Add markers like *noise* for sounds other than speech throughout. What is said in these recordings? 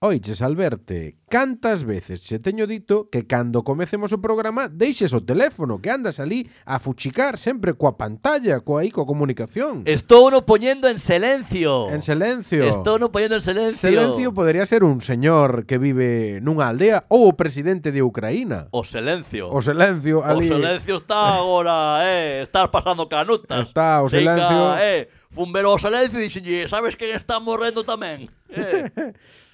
Oiches, Alberte, cantas veces se teño dito que cando comecemos o programa deixes o teléfono que andas ali a fuchicar sempre coa pantalla, coa aí, coa comunicación. Estou no poñendo en silencio. En silencio. Estou no poñendo en silencio. Silencio podería ser un señor que vive nunha aldea ou o presidente de Ucraína. O silencio. O silencio O ali. silencio está agora, eh, estás pasando canutas. Está, o Seica, silencio. eh, fumbero o silencio e dixenlle, sabes que está morrendo tamén? *laughs* Eh,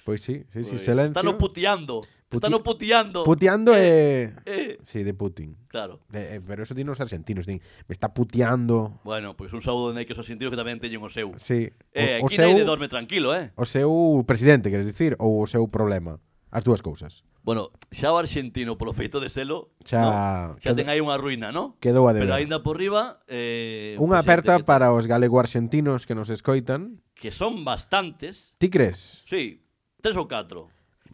Pois sí, sí, sí, silencio. están puteando. Puti- Están puteando. Puteando é... Eh, Sí, de Putin. claro. De- eh, pero eso din os argentinos, din, me está puteando. Bueno, pois un saúdo de que os sentidos que tamén teñen o seu. Sí. Eh, o, o aquí seu, nadie dorme tranquilo, eh. o seu presidente, queres dicir, ou o seu problema. As dúas cousas. Bueno, xa o argentino polo feito de selo, Xa- no? xa quedou- ten aí unha ruína, ¿no? Quedou a Pero deber. aínda por riba, eh, Unha un presidente aperta que, para os galego-argentinos que nos escoitan. que son bastantes, Ti crees? sí, tres ou catro.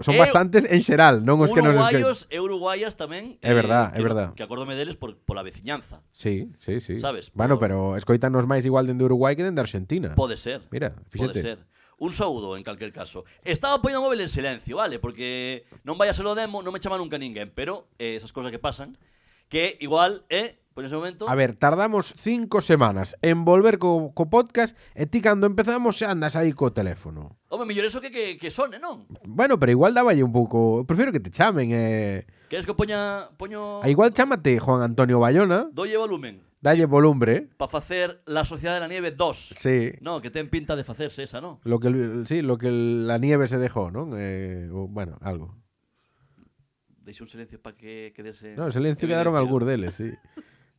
Son Eu- bastantes en xeral, non os que nos escoitan. Uruguayos e uruguayas tamén. É verdá, é que no- verdá. Que acordome deles por, pola veciñanza. Sí, sí, sí. Sabes, Bueno, pero escoitanos máis igual dende Uruguai que dende Argentina. Pode ser. Mira, Pode fíxate. ser. Un saúdo, en calquer caso. Estaba poñendo o móvil en silencio, vale? Porque non vai a ser o demo, non me chama nunca ninguén. Pero eh, esas cousas que pasan, que igual, eh, por ese momento... A ver, tardamos cinco semanas en volver co, co podcast e ti cando empezamos xa andas aí co teléfono. Home, mellor eso que, que, que sone, non? Bueno, pero igual dáballe un pouco... Prefiero que te chamen, eh... Queres que poña... Poño... A igual chámate Juan Antonio Bayona, Dolle volumen. dalle volumbre, Para facer La Sociedade de la Nieve 2. sí, No, que ten pinta de facerse esa, non? lo que el- sí, lo que el- la nieve se dejó, ¿no? Eh, o, bueno, algo. Deixe un silencio para que quedese... No, en silencio evidencia. quedaron algúns deles, sí.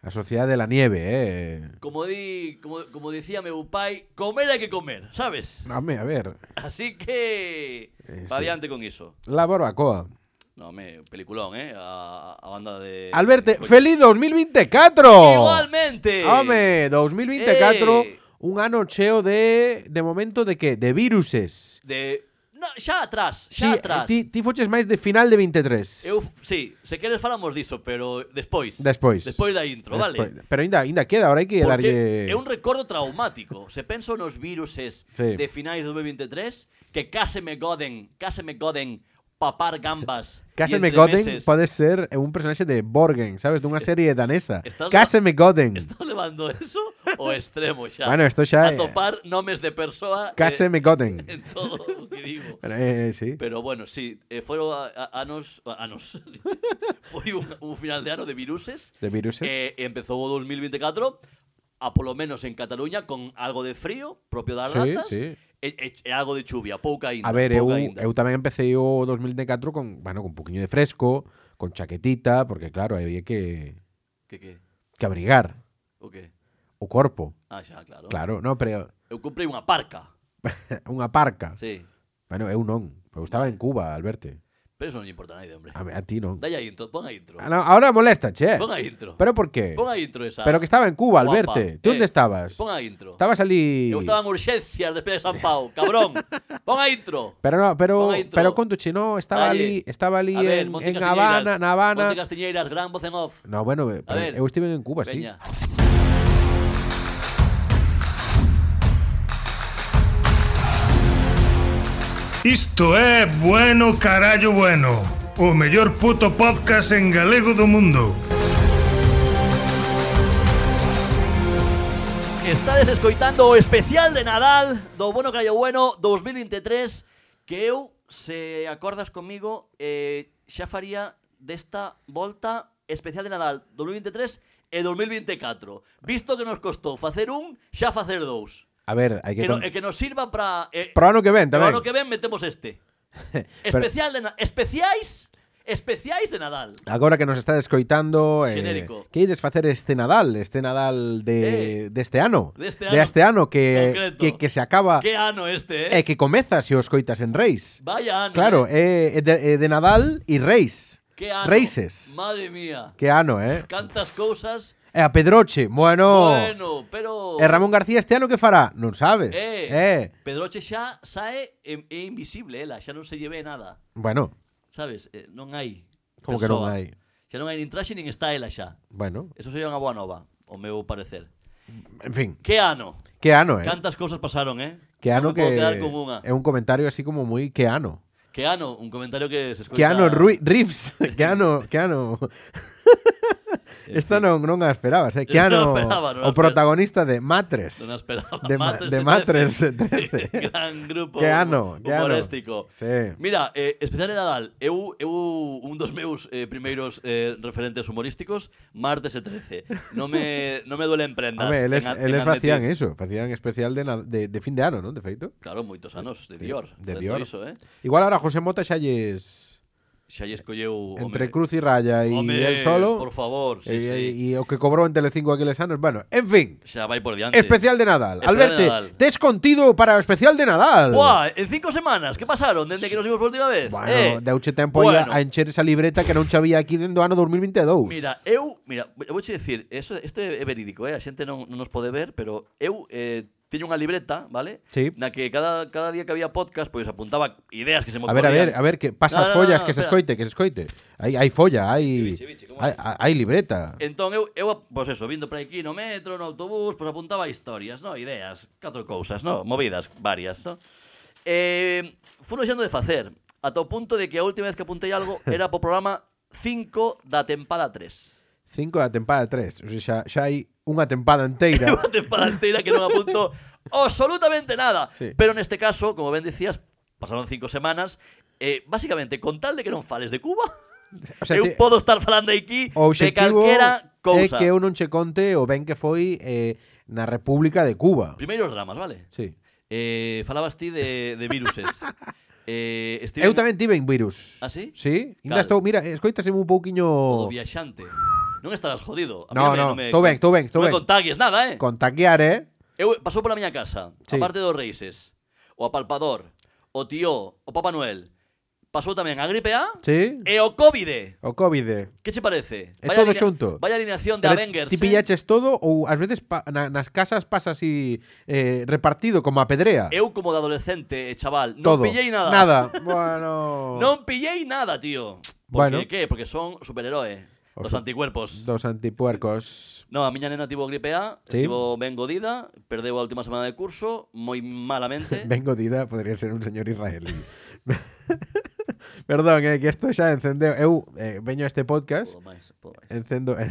A Sociedade de la Nieve, eh. Como di, como, como dicía meu pai, comer hai que comer, sabes? *laughs* Home, a ver, Así que Eh, pa sí. adiante con iso. la barbacoa. No, me peliculón, eh, a, a banda de Alberto, de- feliz 2024! Eh, Igualmente. Home, 2024, Eh. un ano cheo de de momento de que de viruses. De no, xa atrás, xa atrás. ti, ti foches máis de final de 23. Eu, sí, se queres falamos diso, pero despois. Despois. Despois da intro, vale? Despois. Pero ainda ainda queda, ahora hai que Porque darlle é un recordo traumático. Se penso nos viruses Sí. de finais de 2023 que case me goden, case me goden papar gambas. e Caseme Goden entremeses. pode ser eh, un personaxe de Borgen, sabes, dunha serie danesa. Eh, Estás la- Caseme Goden. *laughs* Estás levando eso o extremo xa. Bueno, eh. esto xa é- A topar nomes de persoa eh, Caseme Goden. *laughs* en todo o que digo. Eh, sí. Pero bueno, sí, eh, foron a- a- anos... a- *laughs* anos. Foi un, un final de ano de viruses. De viruses. Eh, e empezou o 2024, a polo menos en Cataluña, con algo de frío, propio Sí, das ratas, sí. e, e, e algo de chuvia, pouca ainda. A ver, eu, pouca ainda. eu tamén empecé o 2004 con, bueno, con puquiño de fresco, con chaquetita, porque claro, había que, Que que? que abrigar O que? o corpo. Ah, xa, claro. Claro, no, pero *laughs* Eu comprei unha parca. unha parca. Sí. Bueno, eu non. Eu estaba en Cuba, Alberto. Pero eso non lle importa a nadie, hombre. A, a ti non. Dai a intro, pon a intro. Ah, no, ahora molesta, che. Pon a intro. Pero por qué? Pon a intro esa. Pero que estaba en Cuba, guapa. Alberto. ¿Tú Eh, onde estabas? Pon a intro. Estabas ali... Eu estaba en urxencias despois de San Pau, *laughs* cabrón. Pon a intro. Pero no, pero Pon a intro. pero conto che, no, estaba ali, Dalle. estaba ali A ver, en, Monte en Castiñeiras, Habana, na Habana. Monte Castiñeiras, gran voz en off. No, bueno, pero ver. eu estive en Cuba, Veña. Pues sí. Isto é Bueno Carallo Bueno O mellor puto podcast en galego do mundo Estades escoitando o especial de Nadal do Bueno Callo Bueno 2023 que eu, se acordas comigo, eh, xa faría desta volta especial de Nadal 2023 e 2024. Visto que nos costou facer un, xa facer dous. A ver, hai que, Que, no, con- e que nos sirva para... Eh, Pro ano que ven Pero tamén. ano que ven metemos este. *laughs* Pero- Especial de na- especiais, especiais de Nadal. Agora que nos está escoitando eh, Xenérico. Que ides facer este Nadal Este Nadal de, Eh, deste ano deste De ano. este ano que, Concreto. que, que se acaba Que ano este, eh? E que comeza se os coitas en Reis Vaya ano. Claro, é eh. é de, é de Nadal e Reis Que ano. Reises Madre mía. Que ano, eh Cantas cousas. E a Pedroche, bueno, Bueno, pero E Eh, Ramón García este ano que fará? Non sabes Eh, Pedroche xa sae é, é invisible ela, xa non se lleve nada. Bueno, Sabes? Eh, non hai. Como que non hai? Xa non hai nin traxe nin está ela xa. bueno Eso sería unha boa nova, o meu parecer. En fin, Que ano? que ano, eh? Cantas cousas pasaron, eh? que ano non me que Puedo quedar con unha. é un comentario así como moi que ano. Keanu, un comentario que se escoita... Keanu Rui, *laughs* Reeves. Keanu, *laughs* Keanu. Esta non, non a esperabas, eh? Keanu, Non a esperaba, non a o esperaba. protagonista de Matres. Non a esperaba. De, Ma- Matres de Matres 13. 13. *laughs* Gran grupo Keanu, Keanu. humorístico. Sí. Mira, eh, especial de Nadal, eu, eu un dos meus eh, primeiros eh, referentes humorísticos, martes e 13. No me, no me duelen prendas. Home, eles, en a- en eles admitir. facían eso, facían especial de, na- de, de fin de ano, non? De feito. Claro, moitos anos, de Dior. ¿eh? De facendo Dior. Iso, eh? Igual ahora José Mota xa lles Xa lle escolleu... entre home, Cruz y Raya e home, el solo. Por favor, e, sí, e- sí. e o que cobrou en Telecinco aqueles anos, bueno, en fin. Xa vai por diante. Especial de Nadal. Especial Alberto, de Nadal. tes contido para o especial de Nadal. Buah, en cinco semanas, ¿qué pasaron desde que nos vimos por última vez? Bueno, eh, deuche tempo aí bueno. a, a encher esa libreta que non sabía aquí dentro do ano 2022. Mira, eu, mira, vou che dicir, eso, isto é verídico, eh? a xente non, non nos pode ver, pero eu eh, teño unha libreta, vale? Sí. Na que cada, cada día que había podcast, pois apuntaba ideas que se me A ver, a ocorrían. ver, a ver, que pasa No, as no, no, follas, no, que se espera. escoite, que se escoite. Hai, hai folla, hai, Biche, biche, biche, como hai, hai libreta. Entón eu, eu, pois eso, vindo para aquí no metro, no autobús, pois apuntaba historias, no, ideas, catro cousas, no, movidas varias, no. Eh, fui deixando de facer, ata o punto de que a última vez que apuntei algo era pro programa 5 da tempada 3. Cinco da tempada tres. O sea, xa, xa hai unha tempada É *laughs* inteira. unha tempada inteira que non apunto absolutamente nada. Sí. Pero neste caso, como ben dicías, pasaron cinco semanas, eh, básicamente, con tal de que non fales de Cuba, O sea, *laughs* eu ti- podo estar falando aquí o de obxectivo calquera é cousa. que eu non che conte o ben que foi eh, na República de Cuba. Primeiro os dramas, vale? Sí. Eh, falabas ti de, de *laughs* viruses. eh, estive Eu tamén tive un virus. Ah, sí? Sí. Cal. Inda estou, mira, escoitaseme un O pouquiño... viaxante. Non estarás jodido. A No, mí no, non me, estou ben, estou ben, estou non me ben. contagues nada, eh? Con taquear, eh? Eu pasou pola miña casa, Sí. sí. aparte dos reises, o apalpador, o tío, o Papá Noel. Pasou tamén a gripe A Sí. e o COVID. O COVID. ¿eh? Que che parece? É todo alinea- xunto. Vaya alineación de Pero Avengers. Ti eh? pillaches todo ou ás veces pa, na, nas casas pasa así eh, repartido como a pedrea. eh. Eu como de adolescente e chaval, non todo. pillei nada. Nada. *laughs* Bueno. Non pillei nada, tío. Porque, Bueno. que? Porque son superheroes. O su- Os anticuerpos. Dos antipuercos. No, a miña nena tivo gripe A, Sí. estivo ben godida, perdeu a última semana de curso, moi *laughs* malamente. Ben godida podría ser un señor israelí. *laughs* Perdón, eh, que isto xa encendeu. Eu eh, veño a este podcast, Podo máis, podo máis. encendo... *laughs*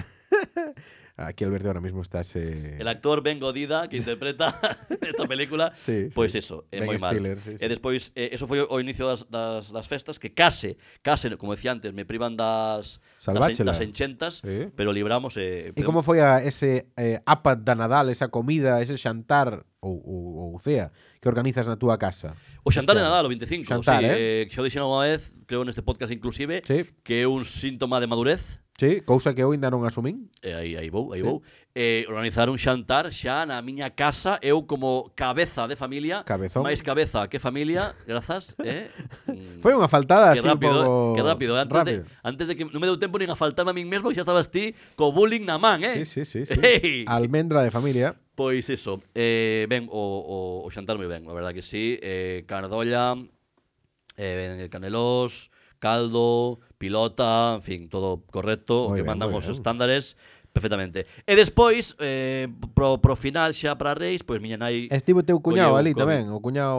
Aquí Alberto ahora mismo estás... Eh... El actor Ben Godida que interpreta *laughs* esta película, Sí, pois sí. eso, é Ben moi mal. Stiller, sí, sí. E despois eh, eso foi o, o inicio das, das, das festas que case, case, como decía antes, me privan das das, en- Salváchela. das enchentas, Sí. pero libramos eh, E como foi a ese eh, APAD da Nadal, esa comida, ese xantar ou, ou, ou cea que organizas na túa casa? O xantar de Este ano. Nadal, o 25, Xantar, sí, eh? eh, que xo dixen unha vez, creo neste podcast inclusive, Sí. que é un síntoma de madurez. eh, Sí, cousa que eu ainda non asumín. E aí, aí vou, aí vou. Eh, organizar un xantar xa na miña casa, eu como cabeza de familia, Cabezón. máis cabeza que familia, grazas, eh? *laughs* Mm, Foi unha faltada que así rápido, Ah, un pouco... eh, que rápido, eh, antes, rápido. De, antes de que non me deu tempo nin a faltarme a min mesmo, xa estabas ti co bullying na man, eh? Sí, sí, sí. sí. Ei! Almendra de familia. Pois iso, eh, ben, o, o, o xantar moi ben, a verdad que sí. Eh, cardolla, eh, canelós, caldo, pilota, en fin, todo correcto, o Moi que ben, mandan moi os ben. estándares perfectamente. E despois, eh, pro, pro final xa para Reis, pois miña nai... Estivo teu cuñado colleu ali COVID. tamén, o cuñado...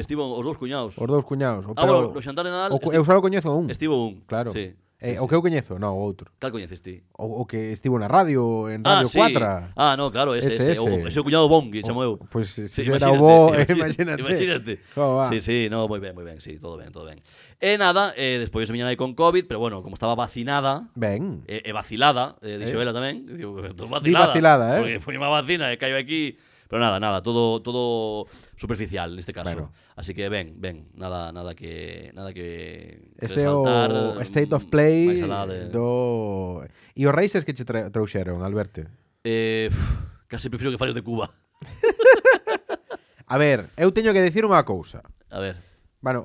Estivo os dous cuñados. Os dous cuñados. O, Ah, bueno, no xantar de Nadal o cu- esti- Eu só coñezo a un. Estivo un. Claro. Sí. Eh, O que eu coñezo? Non, o outro. Cal coñeces ti? O, o que estivo na radio, en Radio 4. Ah, no, claro, ese, Ese, ese. O, ese. ese o cuñado Bongi, chamo eu. pois, se era imagínate, o bo, imagí- *laughs* imagínate. Imagínate. Jo, va. Sí, sí, no, moi ben, moi ben, sí, todo ben, todo ben. E nada, eh, despois de miña nai con COVID, pero bueno, como estaba vacinada, Ben. e, e vacilada, eh, dixo Eh. ela tamén, digo, "Pues "Tú Di vacilada, eh. Porque foi má vacina e caio aquí, pero nada, nada, todo todo superficial neste caso. Bueno. Así que ben, ben, nada nada que nada que Este é resaltar, o mm, State of máis Play alá de- do... E os raíces que che tra trouxeron, Alberto? Eh, pf, casi prefiro que fales de Cuba. *laughs* A ver, eu teño que decir unha cousa. A ver, Bueno,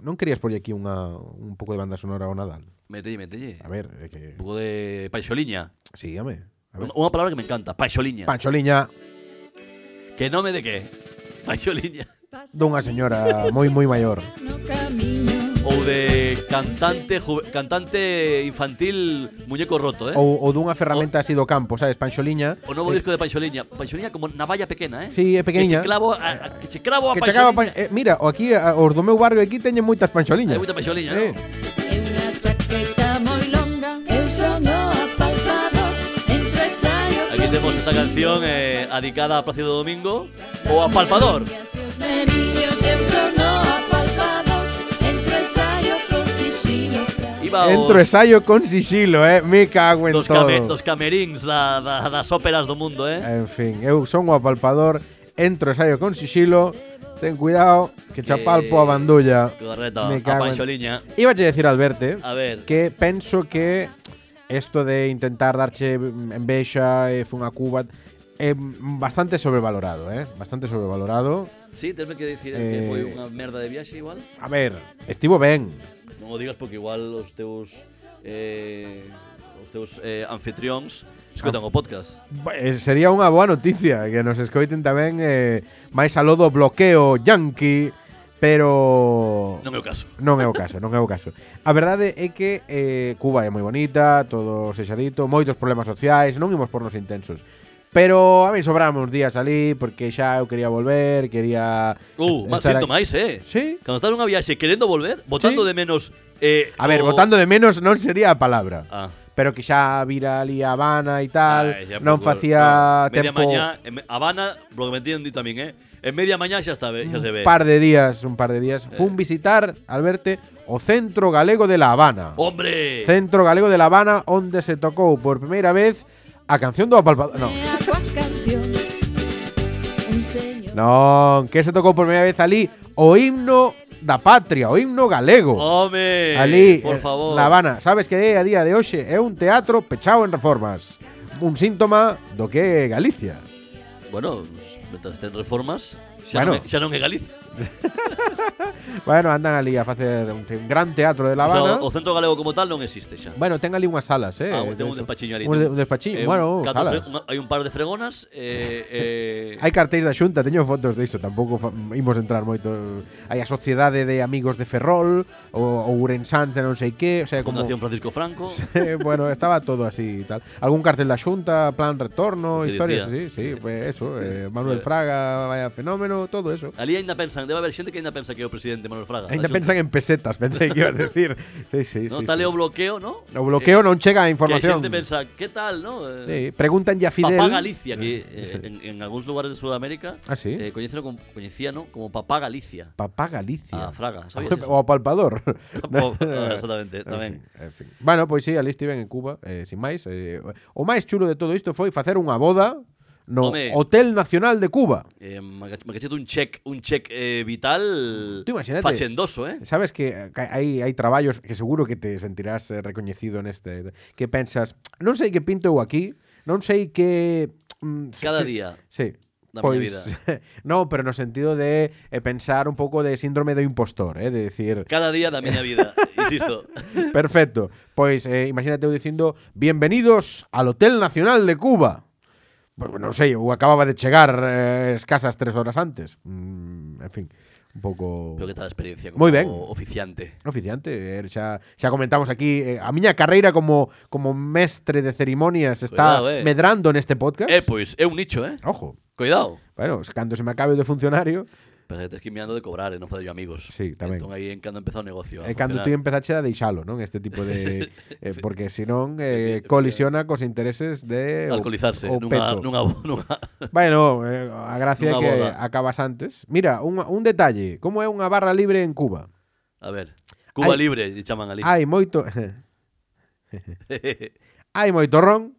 non querías porlle aquí unha, un pouco de banda sonora ao Nadal? metelle, metelle. A ver, é que... Un pouco de paixoliña. Sí, home. A ver. Unha unha palabra que me encanta, paixoliña. Pancholiña Que nome de qué? Paixoliña. Eh? dunha señora moi moi maior. No camino Ou de Cantante, ju- cantante infantil muñeco roto, eh? O, Ou, ou dunha ferramenta así do campo, sabes, panxoliña. novo disco de Panxoliña. Panxoliña como navalla pequena, eh? eh. Sí, é pequeniña. Que che clavo a, a, que che clavo a Que chegaba pan... Oh, eh, Panxoliña. mira, o aquí a- os do meu barrio aquí teñen moitas panxoliñas. Hai moita panxoliña, Eh, É unha chaqueta moi longa Eu sono apartador Entre saio Aquí tenemos esta canción eh, adicada a Plácido Domingo o a Palpador. Merillos eu sono apartador Entre saio con sigilo Iba aos- Entro e saio con sisilo, eh. Me cago en dos, todo. came, dos cameríns da, da, das óperas do mundo, eh? En fin, eu son o apalpador, entro e saio con sisilo. Ten cuidado que chapalpo a bandulla. Correcto, Me a cago en- Panxoliña. Iba a decir Alberto A ver. que penso que esto de intentar darche en bexa e fun a Cuba é bastante sobrevalorado, eh? Bastante sobrevalorado. Sí, tenme que dicir Eh, que foi unha merda de viaxe igual. A ver, estivo ben. Non o digas porque igual os teus eh, os teus eh, anfitrións Ah. escutan o podcast. Ba- eh, Sería unha boa noticia que nos escoiten tamén eh, máis aló do bloqueo yankee, pero Non é o caso. Non é o caso, non é o caso. A verdade é que eh, Cuba é moi bonita, todo sexadito, moitos problemas sociais, non imos pornos intensos. Pero a mí sobramos días ali porque xa eu quería volver, quería est- Uh, máis estar sinto aquí. máis, eh? Sí. Cando estás nunha viaxe querendo volver, botando Sí. de menos eh, A ver, o- votando de menos non sería a palabra. Ah. Pero que xa vira ali a Habana e tal, Ai, xa non pouco- facía no, media tempo mañá, en me- Habana, lo que me entiendo tamén, eh? En media mañá xa está, ve- xa se ve. un Mm, par de días, un par de días. Fun Eh. visitar, Alberto, o Centro Galego de La Habana. Hombre. Centro Galego de La Habana, onde se tocou por primeira vez a canción do Apalpador. Non, É a coa canción Un señor non, que se tocou por primeira vez ali o himno da patria, o himno galego. Home. ali, por eh, favor. La Habana. Sabes que é a día de hoxe é un teatro pechado en reformas. Un síntoma do que é Galicia. Bueno, mientras estén reformas, xa, Bueno. non, é, xa non é Galicia. Bueno, andan ali a facer un, un gran teatro de La O, sea, Habana. o, o centro galego como tal non existe xa. Bueno, ten ali unhas salas, eh. ah, tengo un despachiño ali. Un, de- ten- un despachiño, eh, bueno, catro salas. fre- unha- hai un par de fregonas. Eh, eh, *laughs* Hai cartéis da Xunta, teño fotos diso, tampouco fa- imos entrar moito. Hai a Sociedade de Amigos de Ferrol, o Ourensáns de non sei que, o sea, como Fundación Francisco Franco. *laughs* Eh, bueno, estaba todo así y tal. Algún cartel de la Junta, plan retorno, Que historias, decía. sí, sí, pues eso. *laughs* eh, Manuel Fraga, vaya fenómeno, todo eso. Ali ainda pensan, debe haber xente que ainda pensa que é o presidente Manuel Fraga. Ainda pensan en pesetas, *laughs* pensei que ibas a decir. Sí, sí, No, sí. tal sí. é o bloqueo, ¿no? Eh, O bloqueo non chega a Que a información. xente pensa, que tal, no? Eh, Sí, preguntan ya a Fidel. Papá Galicia, que eh, en, en algúns lugares de Sudamérica Ah, sí? eh, coñeceno como, coñecíano como Papá *laughs* Galicia. *laughs* Papá Galicia. A Ah, Fraga, sabías *laughs* eso? O a Palpador. Po- *laughs* Eh, ah, Exactamente, tamén. En fin, en fin. Bueno, pois sí, ali estiven en Cuba, eh, sin máis. Eh, o máis chulo de todo isto foi facer unha boda no Home. Hotel Nacional de Cuba. Eh, me cach- me cachete un check, un check eh, vital Tú imagínate. fachendoso, eh? Sabes que eh, ca- hai, hai traballos que seguro que te sentirás eh, recoñecido neste que pensas, non sei que pinto eu aquí, non sei que mm, se- *laughs* Cada se- día Sí. da pois, miña vida. *laughs* no, pero no sentido de eh, pensar un pouco de síndrome do impostor, eh, de decir, Cada día da *laughs* miña vida, insisto. perfecto, pois eh, imagínate eu dicindo, bienvenidos al Hotel Nacional de Cuba. Pues, Pois, non sei, eu acababa de chegar eh, escasas tres horas antes. Mm, en fin, un pouco... Pero que tal a experiencia como Moi ben. oficiante. Oficiante, eh, xa, xa comentamos aquí eh, A miña carreira como, como mestre de cerimonias Está Cuidado, eh. medrando neste podcast Eh, pois, é un nicho, eh? Ojo, Cuidado. bueno, cando se me acabe o de funcionario Pero que tes que ir mirando de cobrar, e non facer yo amigos. Sí, tamén. Entón aí en cando empezou o negocio. a E cando tú funcionar. empezaxe a deixalo, non? Este tipo *laughs* de... eh, porque senón eh, colisiona cos intereses de... o- Alcoholizarse o nunha, peto. *laughs* nunha, nunha, Bueno, eh, a gracia é nunha que boda. acabas antes Mira, un, un detalle Como é unha barra libre en Cuba? A ver, Ai. Cuba Libre, lle chaman ali. Hai *laughs* moito... *laughs* hai moito ron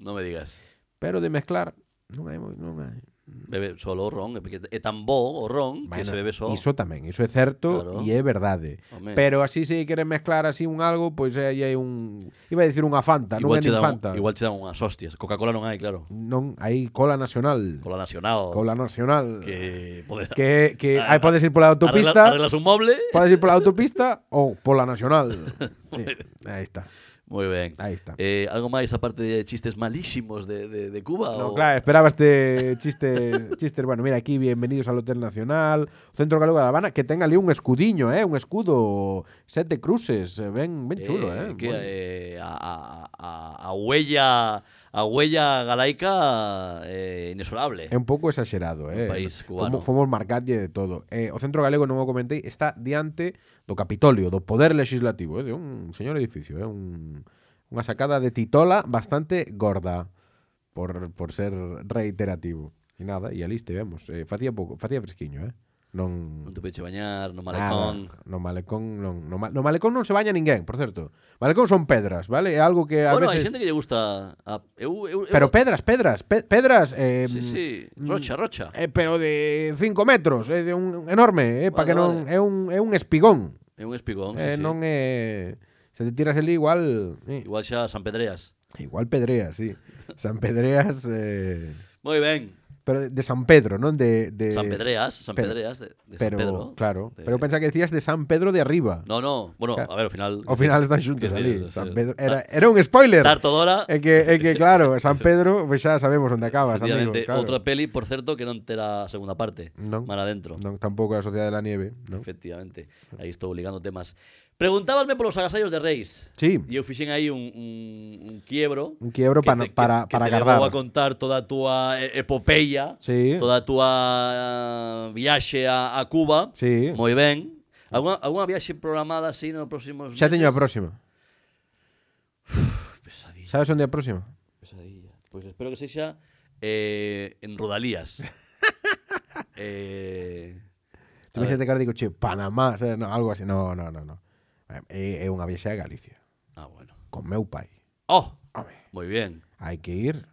non me digas. Pero de mezclar Non hai moi- non hai Bebe solo o ron, porque é tan bo o ron que se bebe só. Iso tamén, iso é certo Claro. e é verdade. Home. Pero así se queren mezclar así un algo, pois aí hai un iba a dicir unha Fanta, non é che nin dan, Fanta. igual che dan unhas hostias. Coca-Cola non hai, claro. Non, hai cola nacional. Cola Nacional. Cola nacional. que poder, Que que Ah, aí podes ir pola Arregla- autopista, arreglas un moble. *laughs* *laughs* podes ir pola autopista ou pola nacional. Sí, aí está. Moi ben. Aí está. Eh, algo máis aparte de chistes malísimos de, de, de Cuba? No, ou- claro, esperaba este chiste, chistes, bueno, mira aquí, bienvenidos al Hotel Nacional, Centro Galego de La Habana, que ten ali un escudiño, eh, un escudo, sete cruces, eh, ben, ben chulo, eh. que, moi- eh, a, a, a, a huella a huella galaica eh, inexorable. É un pouco exagerado, eh. país cubano. Fomos, fomos marcarlle de todo. Eh, o Centro Galego, non o comentei, está diante do Capitolio, do Poder Legislativo, eh, de un señor edificio, eh, un, unha sacada de titola bastante gorda por, por ser reiterativo. E nada, e ali estivemos. Eh, facía pouco, facía fresquiño, eh. Non, Non te peche bañar, no malecón. Nada, no malecón non, no, ma- no malecón non se baña ninguén, por certo. Malecón son pedras, vale? É algo que a Bueno, hai veces xente que lle gusta a, eu, eu, eu, Pero pedras, pedras, pe- pedras eh, Sí, sí, rocha, rocha. eh, pero de 5 metros, é de un enorme, eh, pa Vale, que non é vale. un é un espigón, É un espigón, sí, eh, sí. non é se te tiras ali igual, eh, Igual xa San Pedreas. igual pedreas, sí. San Pedreas eh, Moi ben. pero de- de San Pedro, non de de San Pedreas, San Eh, pero- Pedreas de, de Pero San Pedro. claro, De- pero pensa que decías de San Pedro de arriba. No, no, bueno, Claro. a ver, ao final Ao final están xuntos Quer ali. dizer, San sí. Pedro era era un spoiler. Tarto Dora. É que, é que claro, *laughs* San Pedro, pois xa sabemos onde acabas, amigo. Efectivamente, Claro. outra peli, por certo, que non terá segunda parte. Non. Mar adentro. Non, tampouco a Sociedade da Nieve, non? Efectivamente, aí estou ligando temas. Preguntábasme polos agasallos de Reis. Sí. E eu fixen aí un, un, un quiebro. Un quiebro pa- para- que, para que te agardar. levou a contar toda a túa e- epopeia, Sí. toda a túa ah, viaxe a, a Cuba. Sí. Moi ben. Alguna, alguna viaxe programada así nos próximos Xa teño a meses? próxima. Pesadilla, Sabes onde é a próxima? pesadilla. Pois espero que sexa eh, en *laughs* Rodalías. eh, Tú me xente cara digo, che, Panamá, sabes, no, algo así. No, no, no, Eh, no. É, é unha viaxe a Galicia, ah, bueno. con meu pai. Oh, Home, moi ben. hai que ir.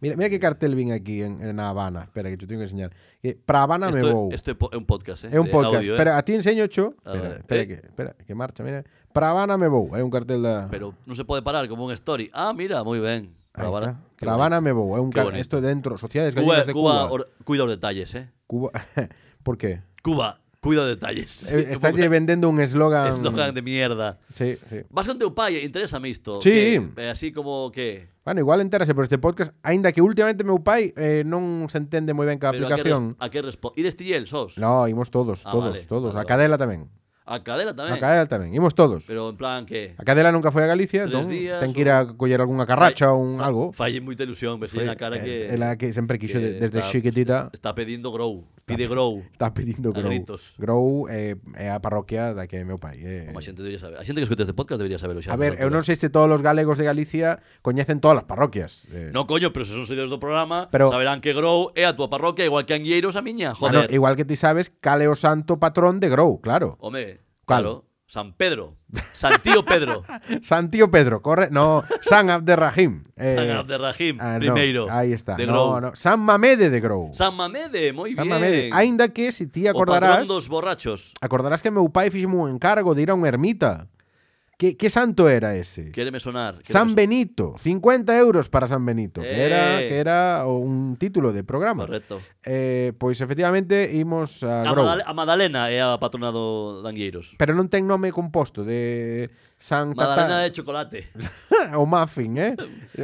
Mira, mira que cartel vin aquí en, en Habana. Espera, que te tengo que enseñar. Que para Habana me vou. Isto é po- é un podcast, eh? É Ah, un de podcast. audio, eh? Espera, a ti enseño cho. Ah, Espera, vale. espera, Eh. que, espera, que marcha, mira. Para Habana me vou. É un cartel da... Pero non se pode parar como un story. Ah, mira, moi ben. Ahí Habana, está. qué Para Habana bonito. me vou. É un Qué car- bonito. Esto dentro, sociedades Cuba, gallegas de Cuba, Cuba. Cuba, or- cuida os detalles, eh. *laughs* ¿Por qué? Cuba, cuida os detalles. *laughs* Eh, Estás lle vendendo un eslogan. Eslogan de mierda. Sí, sí. Vas con eh, teu pai, interésame isto. Sí. Que, eh, así como que... Bueno, igual entérase por este podcast, aínda que últimamente meu pai eh, non se entende moi ben ca Pero a que, res, aplicación. a que respo... Ides ti el, sos? No, imos todos, Ah, todos, vale, todos. vale, a Cadela tamén. A cadela A tamén. Cadela tamén, imos todos. Pero en plan que... A Cadela nunca foi a Galicia, Tres entón días, ten que ir a coller algunha carracha ou un fa- algo. Eh, Falle moita ilusión, ves na cara que... É la que sempre quixo de- desde está- chiquitita. Está pedindo grow. Pide grow. Está pedindo A Grou. gritos. Grou é, eh, é a parroquia da que é meu pai. É, Como a xente debería saber. A xente que escute este podcast debería saberlo a xa. estas ver, eu non alturas. sei se todos os galegos de Galicia coñecen todas as parroquias. Eh, No, coño, pero se son seguidores do programa, Pero- saberán que Grow é a túa parroquia, igual que Angueiros a miña, bueno, joder. Ah, igual que ti sabes, cal é o santo patrón de Grou, claro. Home, Cal? claro, San Pedro, *laughs* Santío Pedro, Santío Pedro, corre. No, San Abderrahim. Eh, *laughs* San Abderrahim, ah, no, primeiro, ahí está. de no, Grou. no. San Mamede de Grou. San Mamede, moi San bien. Mamede. Ainda que, se ti O acordarás... patrón dos borrachos. Acordarás que meu pai fixeme un encargo de ir a unha ermita. Que, que santo era ese? Quéreme sonar. quéreme San sonar. Benito, 50 euros para San Benito, que era Eh. que era un título de programa. Correcto. Eh, pois efectivamente imos a A, Grou. Madale- a Madalena é a patrona do de Angueiros. Pero non ten nome composto de San Tata Madalena de chocolate. *laughs* o Muffin, eh?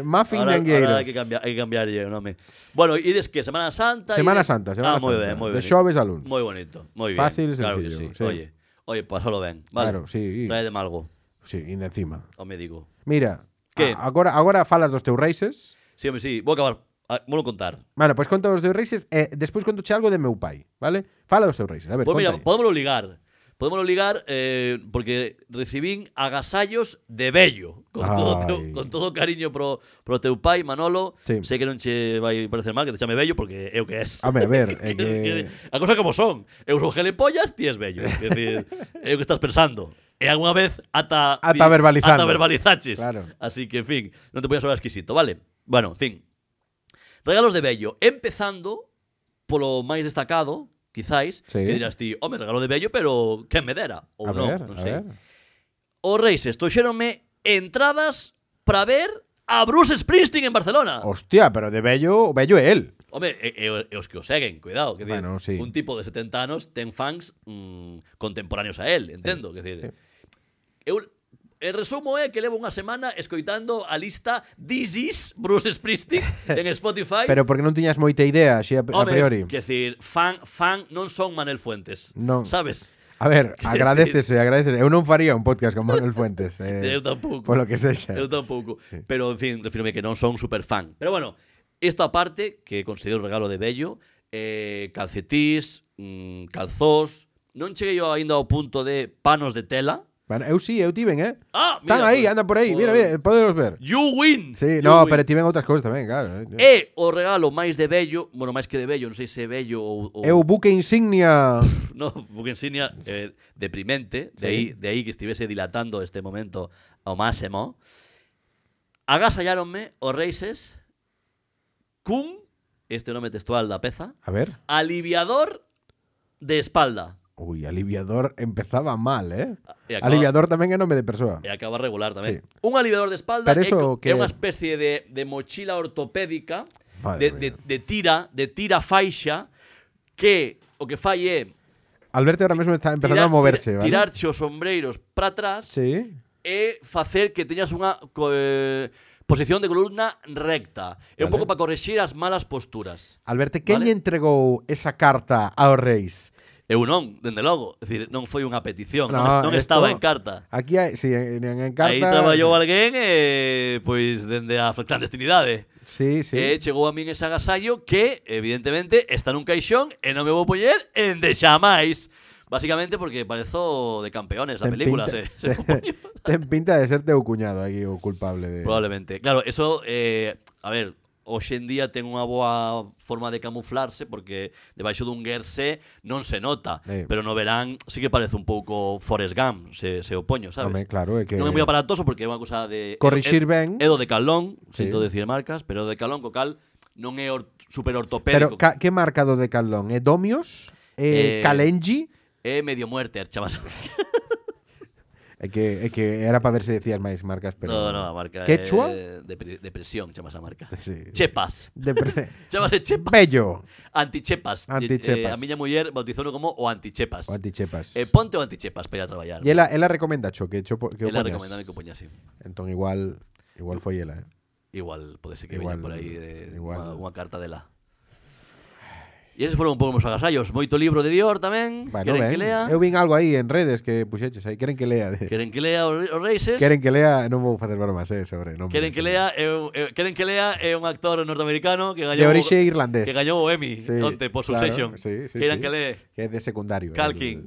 Muffin de Ahora, Angueiros. ahora hai que cambiar, hai que cambiarlle o nome. Bueno, ides que Semana Santa, Semana ides- Santa, Semana ah, moi Santa. ben, moi De ben. xoves a luns. Moi bonito, moi ben. Fácil e claro que sencillo, sí. sí. Oye, oye, pasalo ben, vale. Claro, sí. Trae de malgo, Sí, e encima. o me digo. Mira, Que? a- agora agora falas dos teus races. Sí, home, sí, vou acabar, ah, vou contar. Bueno, pois conta os teus races e despois contoche algo de meu pai, vale? Fala dos teus races, a ver, Pois mira, conta aí. podémoslo ligar. Podémoslo ligar eh, porque recibín agasallos de bello. Con Ai. todo, teu, con todo o cariño pro, pro teu pai, Manolo. Sí. Sei que non che vai parecer mal que te chame bello porque é o que es. Home, a *laughs* ver, *laughs* é que- Que- que- A cosa como son. Eu sou gelepollas, ti es bello. Quer dicir, é o que estás pensando. E algunha vez ata... Ata di- verbalizando. Ata verbalizaches. Claro. Así que, en fin, non te voy a sonar exquisito, vale? Bueno, en fin. Regalos de bello. Empezando polo máis destacado, quizáis, Sí. que dirás ti, home, regalo de bello, pero quen me dera? Ou a non, ver, a non sei. ver. Os Reixes trouxéronme entradas para ver a Bruce Springsteen en Barcelona. Hostia, pero de bello, o bello é el. Home, e, e, e os que o seguen, cuidado. Que Bueno, decir, sí. Un tipo de 70 anos ten fans mm, contemporáneos a él, entendo. Que decir, eu E resumo é que levo unha semana escoitando a lista This is Bruce *laughs* Springsteen en Spotify. Pero porque non tiñas moita idea, así a, a Home, priori. Quer decir, fan, fan non son Manel Fuentes. Non. Sabes? A *laughs* ver, Quer agradecese, agradecese. Eu non faría un podcast con Manuel Fuentes. *laughs* Eu tampouco. Eh, Por lo que sexa. Eu tampouco. Pero, en fin, refírome que non son super fan. Pero bueno, isto aparte, que considero regalo de bello, eh, calcetís, mm, calzós, non cheguei eu aínda ao punto de panos de tela. Bueno, eu sí, eu tiven, eh? Ah, Están mira, aí, pues, anda por aí. Mira, joder. mira, poderos ver. You win! Sí, You no, win. pero tiven outras cousas tamén, claro. eh. É o regalo máis de bello, bueno, máis que de bello, non sei se é bello ou... ou É o buque insignia. *laughs* No, porque insignia eh, deprimente, de, aí, de aí que estivese dilatando este momento ao máximo. Agasalláronme os reises cun, este nome textual da peza, A ver. aliviador de espalda. Ui, aliviador empezaba mal, eh? E acaba- Aliviador tamén é nome de persoa. E acaba regular tamén. Sí. Un aliviador de espalda Pero é, eso co- é que- unha especie de, de mochila ortopédica Madre de, de, mía. de tira, de tira faixa que o que fai é Alberto ahora mesmo está empezando a tirar, moverse, tira- ¿vale? tirarche os sombreiros para atrás Sí. é facer que teñas unha co- eh, posición de columna recta. É un Vale. pouco para correxir as malas posturas. Alberto, quen Vale. lle entregou esa carta aos reis? Eu non, dende logo. É dicir, non foi unha petición, non, No, non esto- estaba en carta. Aquí hai, sí, en, en, en carta. Aí traballou alguén e, pois, dende a clandestinidade. Sí, sí. *laughs* E chegou a min ese agasallo que, evidentemente, está nun caixón e non me vou poñer en de xa máis. Básicamente porque parezo de campeones a Ten película, pinta- se, *laughs* se vou poñer. Ten pinta de ser teu cuñado aquí o culpable de. Probablemente. Claro, eso, eh, a ver, hoxe en día ten unha boa forma de camuflarse porque debaixo dun guerse non se nota, Eh. pero no verán sí que parece un pouco Forrest Gump, se, se opoño, sabes? Home, claro, é que- Non é moi aparatoso porque é unha cousa de... Corrixir é- ben. É do de Calón, Sí. sinto decir marcas, pero do de Calón, co cal, non é or, super Pero ortopédico. ca, que marca do de Calón? É Domios? É Eh, Calengi? É medio muerte, chamas. É que, é que era para ver se decías máis marcas, pero. *laughs* no, no, a marca Quechua? é de, depresión, chamas a marca. *laughs* Este, Sí. *laughs* Chepas. De pre- Chámase Chepas. Bello. Antichepas. Antichepas. Eh, a miña muller bautizono como o Antichepas. O antichepas. Eh, ponte o Antichepas para ir a traballar. E ela, ela recomenda cho que, cho, po- que o Ela poñas. recomendame que o poña así. Entón igual igual foi ela, eh. Igual, pode ser que Igual, veña por aí de igual. Unha, unha carta dela. E eses foron un pouco meus agasallos. Moito libro de Dior tamén. Bueno, queren ben. que lea. Eu vin algo aí en redes que puxeches aí, queren que lea. *laughs* de- Queren que lea os, os Reises. Queren que lea, non vou facer bromas, eh, sobre non. Queren que lea é un- é- queren que lea é un actor norteamericano que De gañou orixe irlandés. que gañou o Emmy Sí, onte por claro, Succession. sí, sí, sí. queren que lea Que é de secundario. Culkin.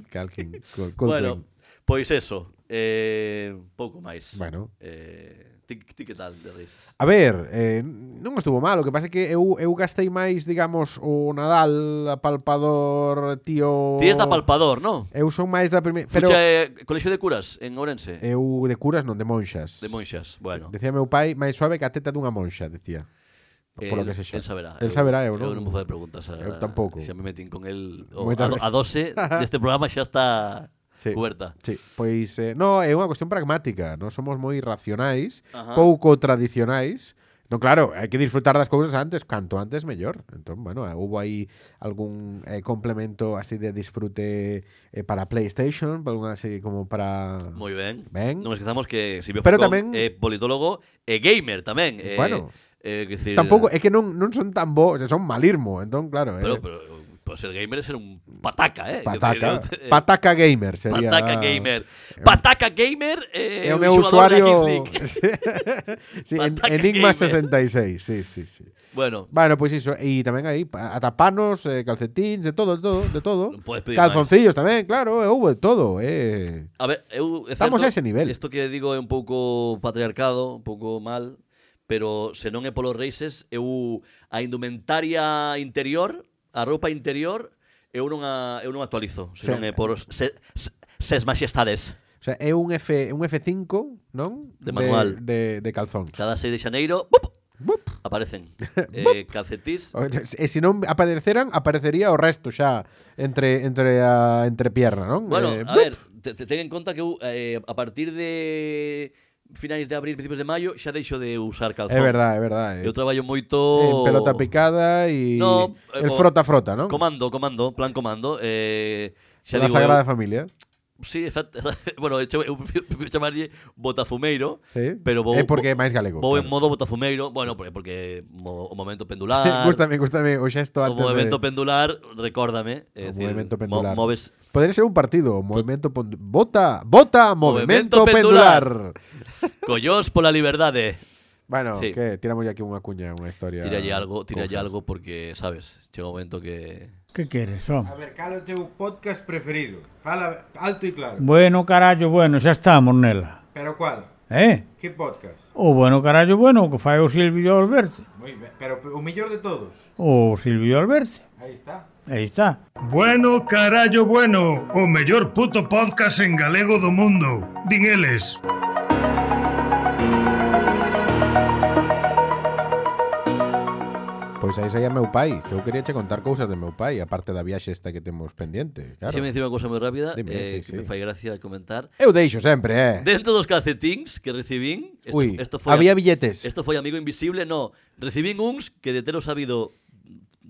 el- *laughs* Culkin. Cul- Bueno, Culkin. pois eso, eh, pouco máis. Bueno. Eh, ti, ti que tal de risas? A ver, eh, non estuvo mal, o que pasa é que eu, eu gastei máis, digamos, o Nadal, apalpador, tío... Ti és da Palpador, non? Eu son máis da primeira... Pero... Oh. Pero Fucha eh, colexio de curas en Ourense, eh, eu de curas non, de monxas. de Monxas. Bueno, Decía meu pai, máis suave que a teta dunha monxa, decía. Por lo el- que se xa. El saberá. El saberá, eh, eu, non. Eu non vou non. facer preguntas. A, Eu tampouco. Xa me metín con el o, Moitas a, do- veces. *laughs* a dose deste programa xa está Sí. coberta. Sí, pois eh, no, é unha cuestión pragmática, non somos moi racionais, Ajá. pouco tradicionais. No, claro, hai que disfrutar das cousas antes, canto antes mellor. Entón, bueno, eh, hubo aí algún eh, complemento así de disfrute eh, para PlayStation, para algún así como para Moi ben. Ben. Non esquezamos que Silvio Pero tamén- Falcón é politólogo e gamer tamén. Eh, Bueno. eh, quer decir, Tampouco, é que non, non son tan bo, se son malirmo, entón claro, eh, Pero, pero, pero ser gamer é ser un pataca, eh? Quer *laughs* pataca, decir, eu- eh, pataca gamer sería. Pataca Gamer. Pataca Gamer é, É o un meu xogador da Kings usuario *laughs* League. *laughs* sí, en, Pataca Enigma Gamer. 66, sí, sí, sí. Bueno, Bueno, pois iso, e tamén aí pa- atapanos, eh, calcetins, de todo, de todo, de todo. non podes pedir Calzoncillos tamén, claro, e houve de todo, eh. a ver, eu é Estamos certo, a ese nivel. Isto que digo é un pouco patriarcado, un pouco mal, pero se non é polos races, eu a indumentaria interior, a roupa interior, eu non a eu non actualizo, se Sí. non é por os se, se, ses majestades. O sea, é un F, un F5, non? De manual. De, de, de calzóns. Cada 6 de xaneiro, ¡bup! Bup. *laughs* aparecen eh, calcetís. O- E se non apareceran, aparecería o resto xa entre entre a entre pierna, non? Bueno, Eh, a ver, te, te ten en conta que eu eh, a partir de finais de abril, principios de maio, xa deixo de usar calzón. É verdade, é verdade. Eu traballo moito En Eh, pelota picada e Oh. No, eh, el co- frota frota, non? Comando, comando, plan comando. Eh, xa Da digo, Sagrada eu, Familia. Sí, exacto. *laughs* Bueno, eh, eu chamo- eu prefiro chamarlle botafumeiro, Sí. pero vou, É porque é vou- máis galego, Vou en claro. modo botafumeiro, bueno, porque, porque mo- o momento *laughs* pendular, gústame, gústame o xesto o antes de... movimento pendular, recórdame, O é dicir, movimento mo- pendular. moves Podría ser un partido, o movimento pendu- bota, bota, movimento Movemento pendular. collós pola liberdade. Bueno, Sí. que tiramos aquí unha cuña, unha historia. Tiralle algo, tiralle cousas. algo porque, sabes, chega un momento que ¿Qué quieres, hom? A ver, este cal é o teu podcast preferido? Fala alto e claro. Bueno, carallo, bueno, xa estamos nela. Pero cual? Eh? Que podcast? O bueno, carallo, bueno, o que fai o Silvio Alberti. Moi ben, pero o mellor de todos. O Silvio Alberti. Aí está. Aí está. Bueno, carallo, bueno, o mellor puto podcast en galego do mundo. Din eles. Pois aí saía meu pai, que eu quería che contar cousas de meu pai, aparte da viaxe esta que temos pendiente, claro. Claro. me dicir unha cousa moi rápida Dime, eh, sí, que me sí. fai gracia comentar. Eu deixo sempre, eh. Dentro dos calcetins que recibín, esto, Ui, esto foi había billetes. Esto foi amigo invisible, no. Recibín uns que de ter o sabido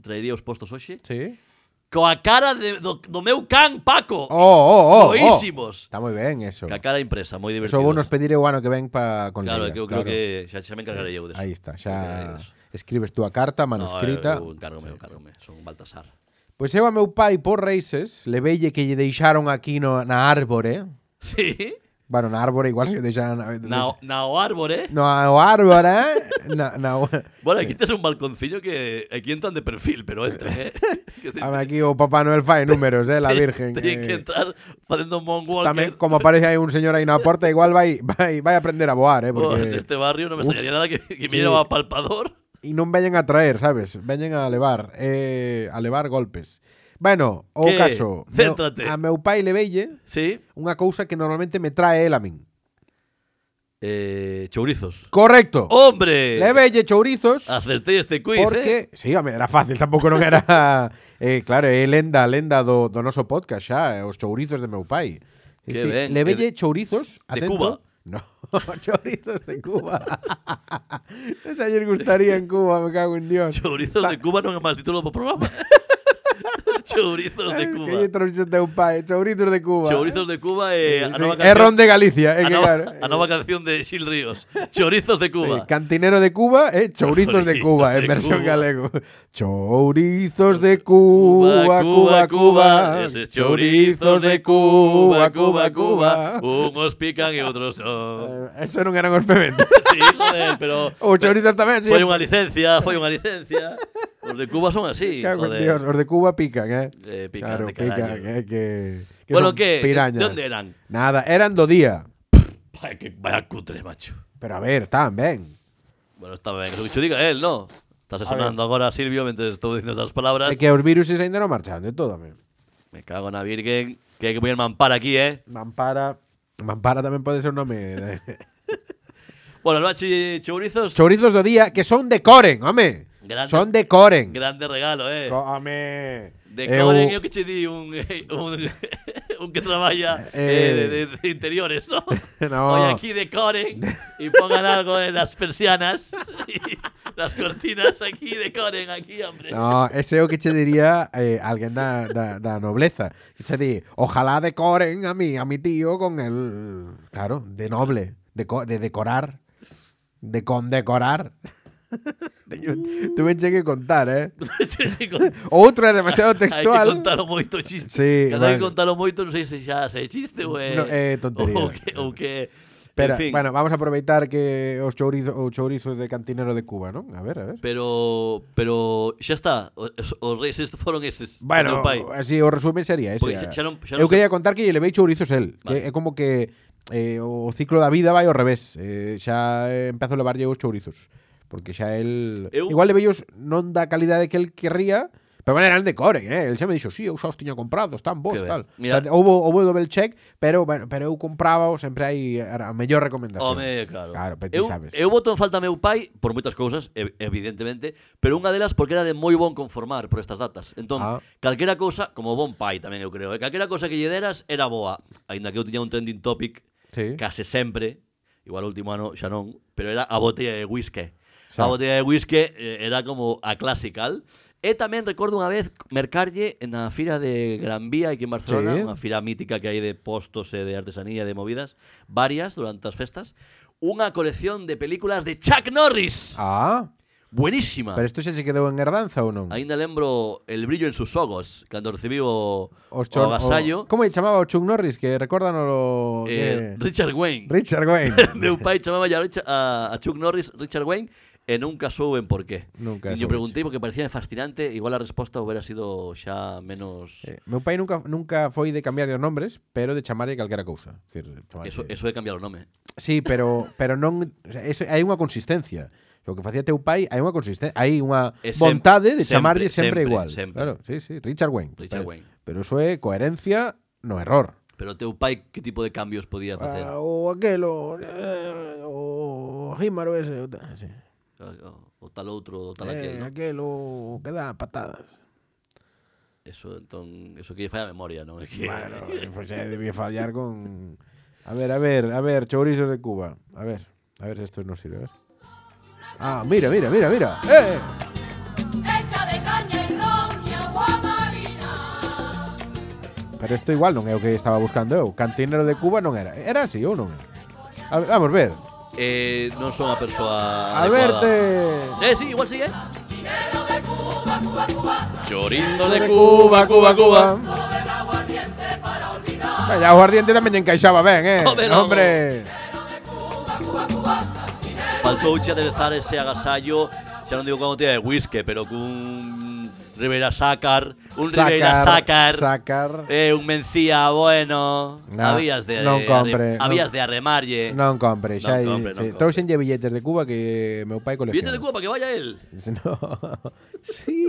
traería os postos hoxe. Sí. Coa cara de, do, do meu can Paco. Oh, oh, oh. Oh. Boísimos. Está moi ben eso. Ca cara impresa, moi divertido. Eso vou nos pedir o ano que ven pa con Claro, Lidia, que eu creo que xa, xa me encargarei eu deso. Aí está, Me xa encargarei deso. escribes tú a carta No, eh, manuscrita. eu encárgome, eu encárgome. Son un Baltasar. *laughs* Pois eu a meu pai por raíces leveille que lle deixaron aquí no, na árbore. Sí. Bueno, na árbore igual se lle deixaran na, Na, na o árbore. no ao árbore, eh? na, na, *laughs* Bueno, aquí tes un balconcillo que aquí entran de perfil, pero entra, *laughs* eh. Que se- A ver, aquí o Papá Noel fai números, eh, la te- Virgen. Teñen que Eh, entrar facendo un moonwalker. tamén como aparece aí un señor aí na porta, igual vai vai vai aprender a voar, eh, Oh, en porque este barrio no me Uf, extrañaría nada que, que sí. me llevaba palpador. e non veñen a traer, sabes? Veñen a levar, eh, a levar golpes. Bueno, o Que? caso, meu- Céntrate. a meu pai leveille Sí. unha cousa que normalmente me trae el a min. Eh, chourizos. Correcto. ¡Hombre! Levelle chourizos. Acertei este quiz, eh. Porque, sí, home, era fácil, tampouco non *laughs* era eh, Claro, é lenda, lenda do, do noso podcast xa eh, Os chourizos de meu pai Sí, Que sí, ben, Levelle que de- chourizos de atento. Cuba. No, *laughs* chourizos de Cuba *laughs* Esa lles gustaría en Cuba, me cago en Dios Chourizos de Cuba non é mal título do programa. *laughs* chourizos de Que lle Cuba. trouxes teu pai, chourizos de Cuba Chourizos de Cuba Eh, é a sí, nova é canción. ron de Galicia, é a que nova, claro a nova canción de Xil Ríos. Chourizos de Sí, Cuba. cantinero de Cuba, eh, chourizos de Chourizos Cuba, en de versión Cuba. galego. Chourizos de Cuba, Cuba, Cuba. Eses chourizos de Cuba, Cuba, Cuba. Unos pican e outros son. Eh, Eso non eran os pementos. *laughs* Sí, joder, *laughs* pero Os chourizos tamén, sí. foi unha licencia, foi unha licencia. Os de Cuba son así, *laughs* Cago en joder. Dios, os de Cuba pican, eh. Eh, pican claro, de carallo. pican, eh, que, que Bueno, son ¿qué? ¿De- pirañas. de onde eran? Nada, eran do día. Vaya, que, vaya cutre, macho. Pero a ver, están ben. Bueno, está ben, eso que cho diga él, no? Estás sonando agora, Silvio, mentre estou dicindo esas É palabras. que os virus ainda non marcharon de todo, men. Me cago na virgen, que hai que poñer mampara aquí, eh? Mampara, Mampara tamén pode ser un nome. de- *laughs* Bueno, Albachi Chourizos, Chourizos do día que son de Coren, home. Grande- son de Coren. grande regalo, eh? Co- Home. De Eu- Coren eu que che di un, eh, un, *laughs* un que traballa eh, de, de, de interiores, ¿no? *laughs* No. Voy aquí de Coren y pongan algo en las persianas *laughs* y las cortinas aquí de Coren, aquí, hombre. No, ese é o que che diría eh, alguén da, da, da nobleza. Que che di, ojalá decoren a mi, a mi tío con el... Claro, de noble, de, co- de decorar, de condecorar. *laughs* Uh. Teño- Tuve que contar, eh? Che, *laughs* sí, con- Outro é demasiado *laughs* Hai que textual. contalo moito o chiste. Sí, Cada vez vale. que contalo moito, non sei se xa se é chiste ou é... No, é tontería. Ou que... Ou que Pero, en fin, bueno, vamos a aproveitar que os chourizos o chourizo de cantinero de Cuba, non? A ver, a ver. pero, pero xa está. Os, os reis estes foron eses. do Bueno, eh, teu pai. así o resumen sería ese. Porque xa- xa non- xa eu non se- quería contar que lle levei chourizos el, Vale. que é como que eh, o ciclo da vida vai ao revés. Eh, xa eh, empezo a levarlle os chourizos, porque xa el Eu- igual leveillos non da calidade que el querría, pero bueno, eran de Coren, eh. El xa me dixo, "Sí, eu xa os tiña comprados, tan bons, Que ben. tal." Mira- O sea, houbo houbo double check, pero bueno, pero eu compraba sempre hai a mellor recomendación. Home, claro. Claro, pero ti eu, sabes. eu voto en falta a meu pai por moitas cousas, ev- evidentemente, pero unha delas porque era de moi bon conformar por estas datas. Entón, Ah. ah. calquera cousa, como bon pai tamén eu creo, eh, calquera cousa que lle deras era boa, aínda que eu tiña un trending topic Sí. case sempre, igual o último ano xa non, pero era a botella de whisky. Xa. A botella de whisky eh, era como a classical, E tamén recordo unha vez mercarlle na fira de Gran Vía aquí en Sí. Barcelona, sí. unha fira mítica que hai de postos e de artesanía e de movidas, varias durante as festas, unha colección de películas de Chuck Norris. Ah, Buenísima. pero isto xa se quedou en herdanza ou non? Ainda lembro el brillo en sus ojos cando recibiu o, Os o chon- agasallo o- Como lle chamaba o Chuck Norris? Que recordan o... eh, Richard Wayne. Richard Wayne. *laughs* Meu pai chamaba a, Richa- a, a Chuck Norris Richard Wayne e nunca souben por qué. Nunca e yo soubeche. preguntei porque parecía fascinante, igual a resposta houbera sido xa menos... *laughs* Eh, meu pai nunca nunca foi de cambiar os nombres, pero de chamarlle calquera cousa. Quer Decir, chamarlle- Eso, eso de cambiar o nome. Sí, pero pero non, o sea, eso, hai unha consistencia. O que facía teu pai, hai unha consistencia, hai unha E sem- vontade de chamarlle sempre, sempre, sempre, igual. sempre. Claro, sí, sí, Richard Wayne. pero, Richard Wayne. Pero eso é coherencia no error. Pero teu pai que tipo de cambios podía facer? Ah, o aquelo, eh, o Jímaro ese, o, sí. O, o tal outro, o tal aquel, ¿no? aquelo Eh, que dá patadas. Eso, entón, eso que lle falla a memoria, non? É que... Bueno, pues ya debí fallar con. A ver, a ver, a ver, chorizos de Cuba. A ver, a ver si esto nos sirve. a ver. Ah, mira, mira, mira, mira. ¡Eh! Hecha de caña y ron y agua marina. Pero esto igual non é o que estaba buscando eu. Cantinero de Cuba non era. Era así ou non era? A ver, vamos ver. Eh, non son a persoa A adecuada. verte. Eh, sí, igual sí, eh? Dinero de Cuba, Cuba, Cuba. Chorizo de Cuba, Cuba, Cuba. Solo de aguardiente para olvidar. Vaya, aguardiente tamén lle encaixaba ben, eh. Home, non. Hombre. Faltou xa aderezar ese agasallo Xa non digo con botella de whisky Pero cun Rivera Sácar Un Rivera Sácar Sacar. eh, Un Mencía, bueno Na, Habías de non de- compre, Habías non- de arremarlle Non compre, xa. Non hai- Eh. compre, non sí. compre. Trouxenlle billetes de Cuba que meu pai colecciona. Billete de Cuba, que vaya *laughs* él No. Sí.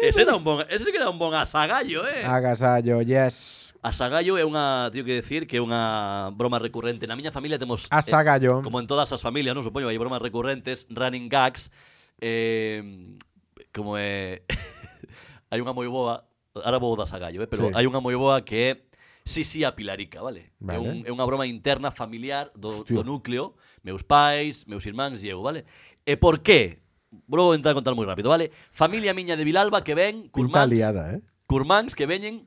Ese era un bon Ese sí que era un bon asagallo, *laughs* eh Ah. Agasallo, yes. Asagallo é unha, teño que decir, que é unha broma recurrente. Na miña familia temos... eh, Asagallo. como en todas as familias, non supoño, hai bromas recurrentes, running gags. Eh, como é... *laughs* hai unha moi boa... Ahora vou da asagallo, eh, Sí. pero hai unha moi boa que é... Sí, sí, a Pilarica, vale? Vale. É, un, é unha broma interna familiar do, Hostia. do núcleo, meus pais, meus irmáns e eu, vale? E por qué? Vou intentar contar moi rápido, vale? Familia miña de Vilalba que ven, Pinta curmáns, liada, eh. curmáns que veñen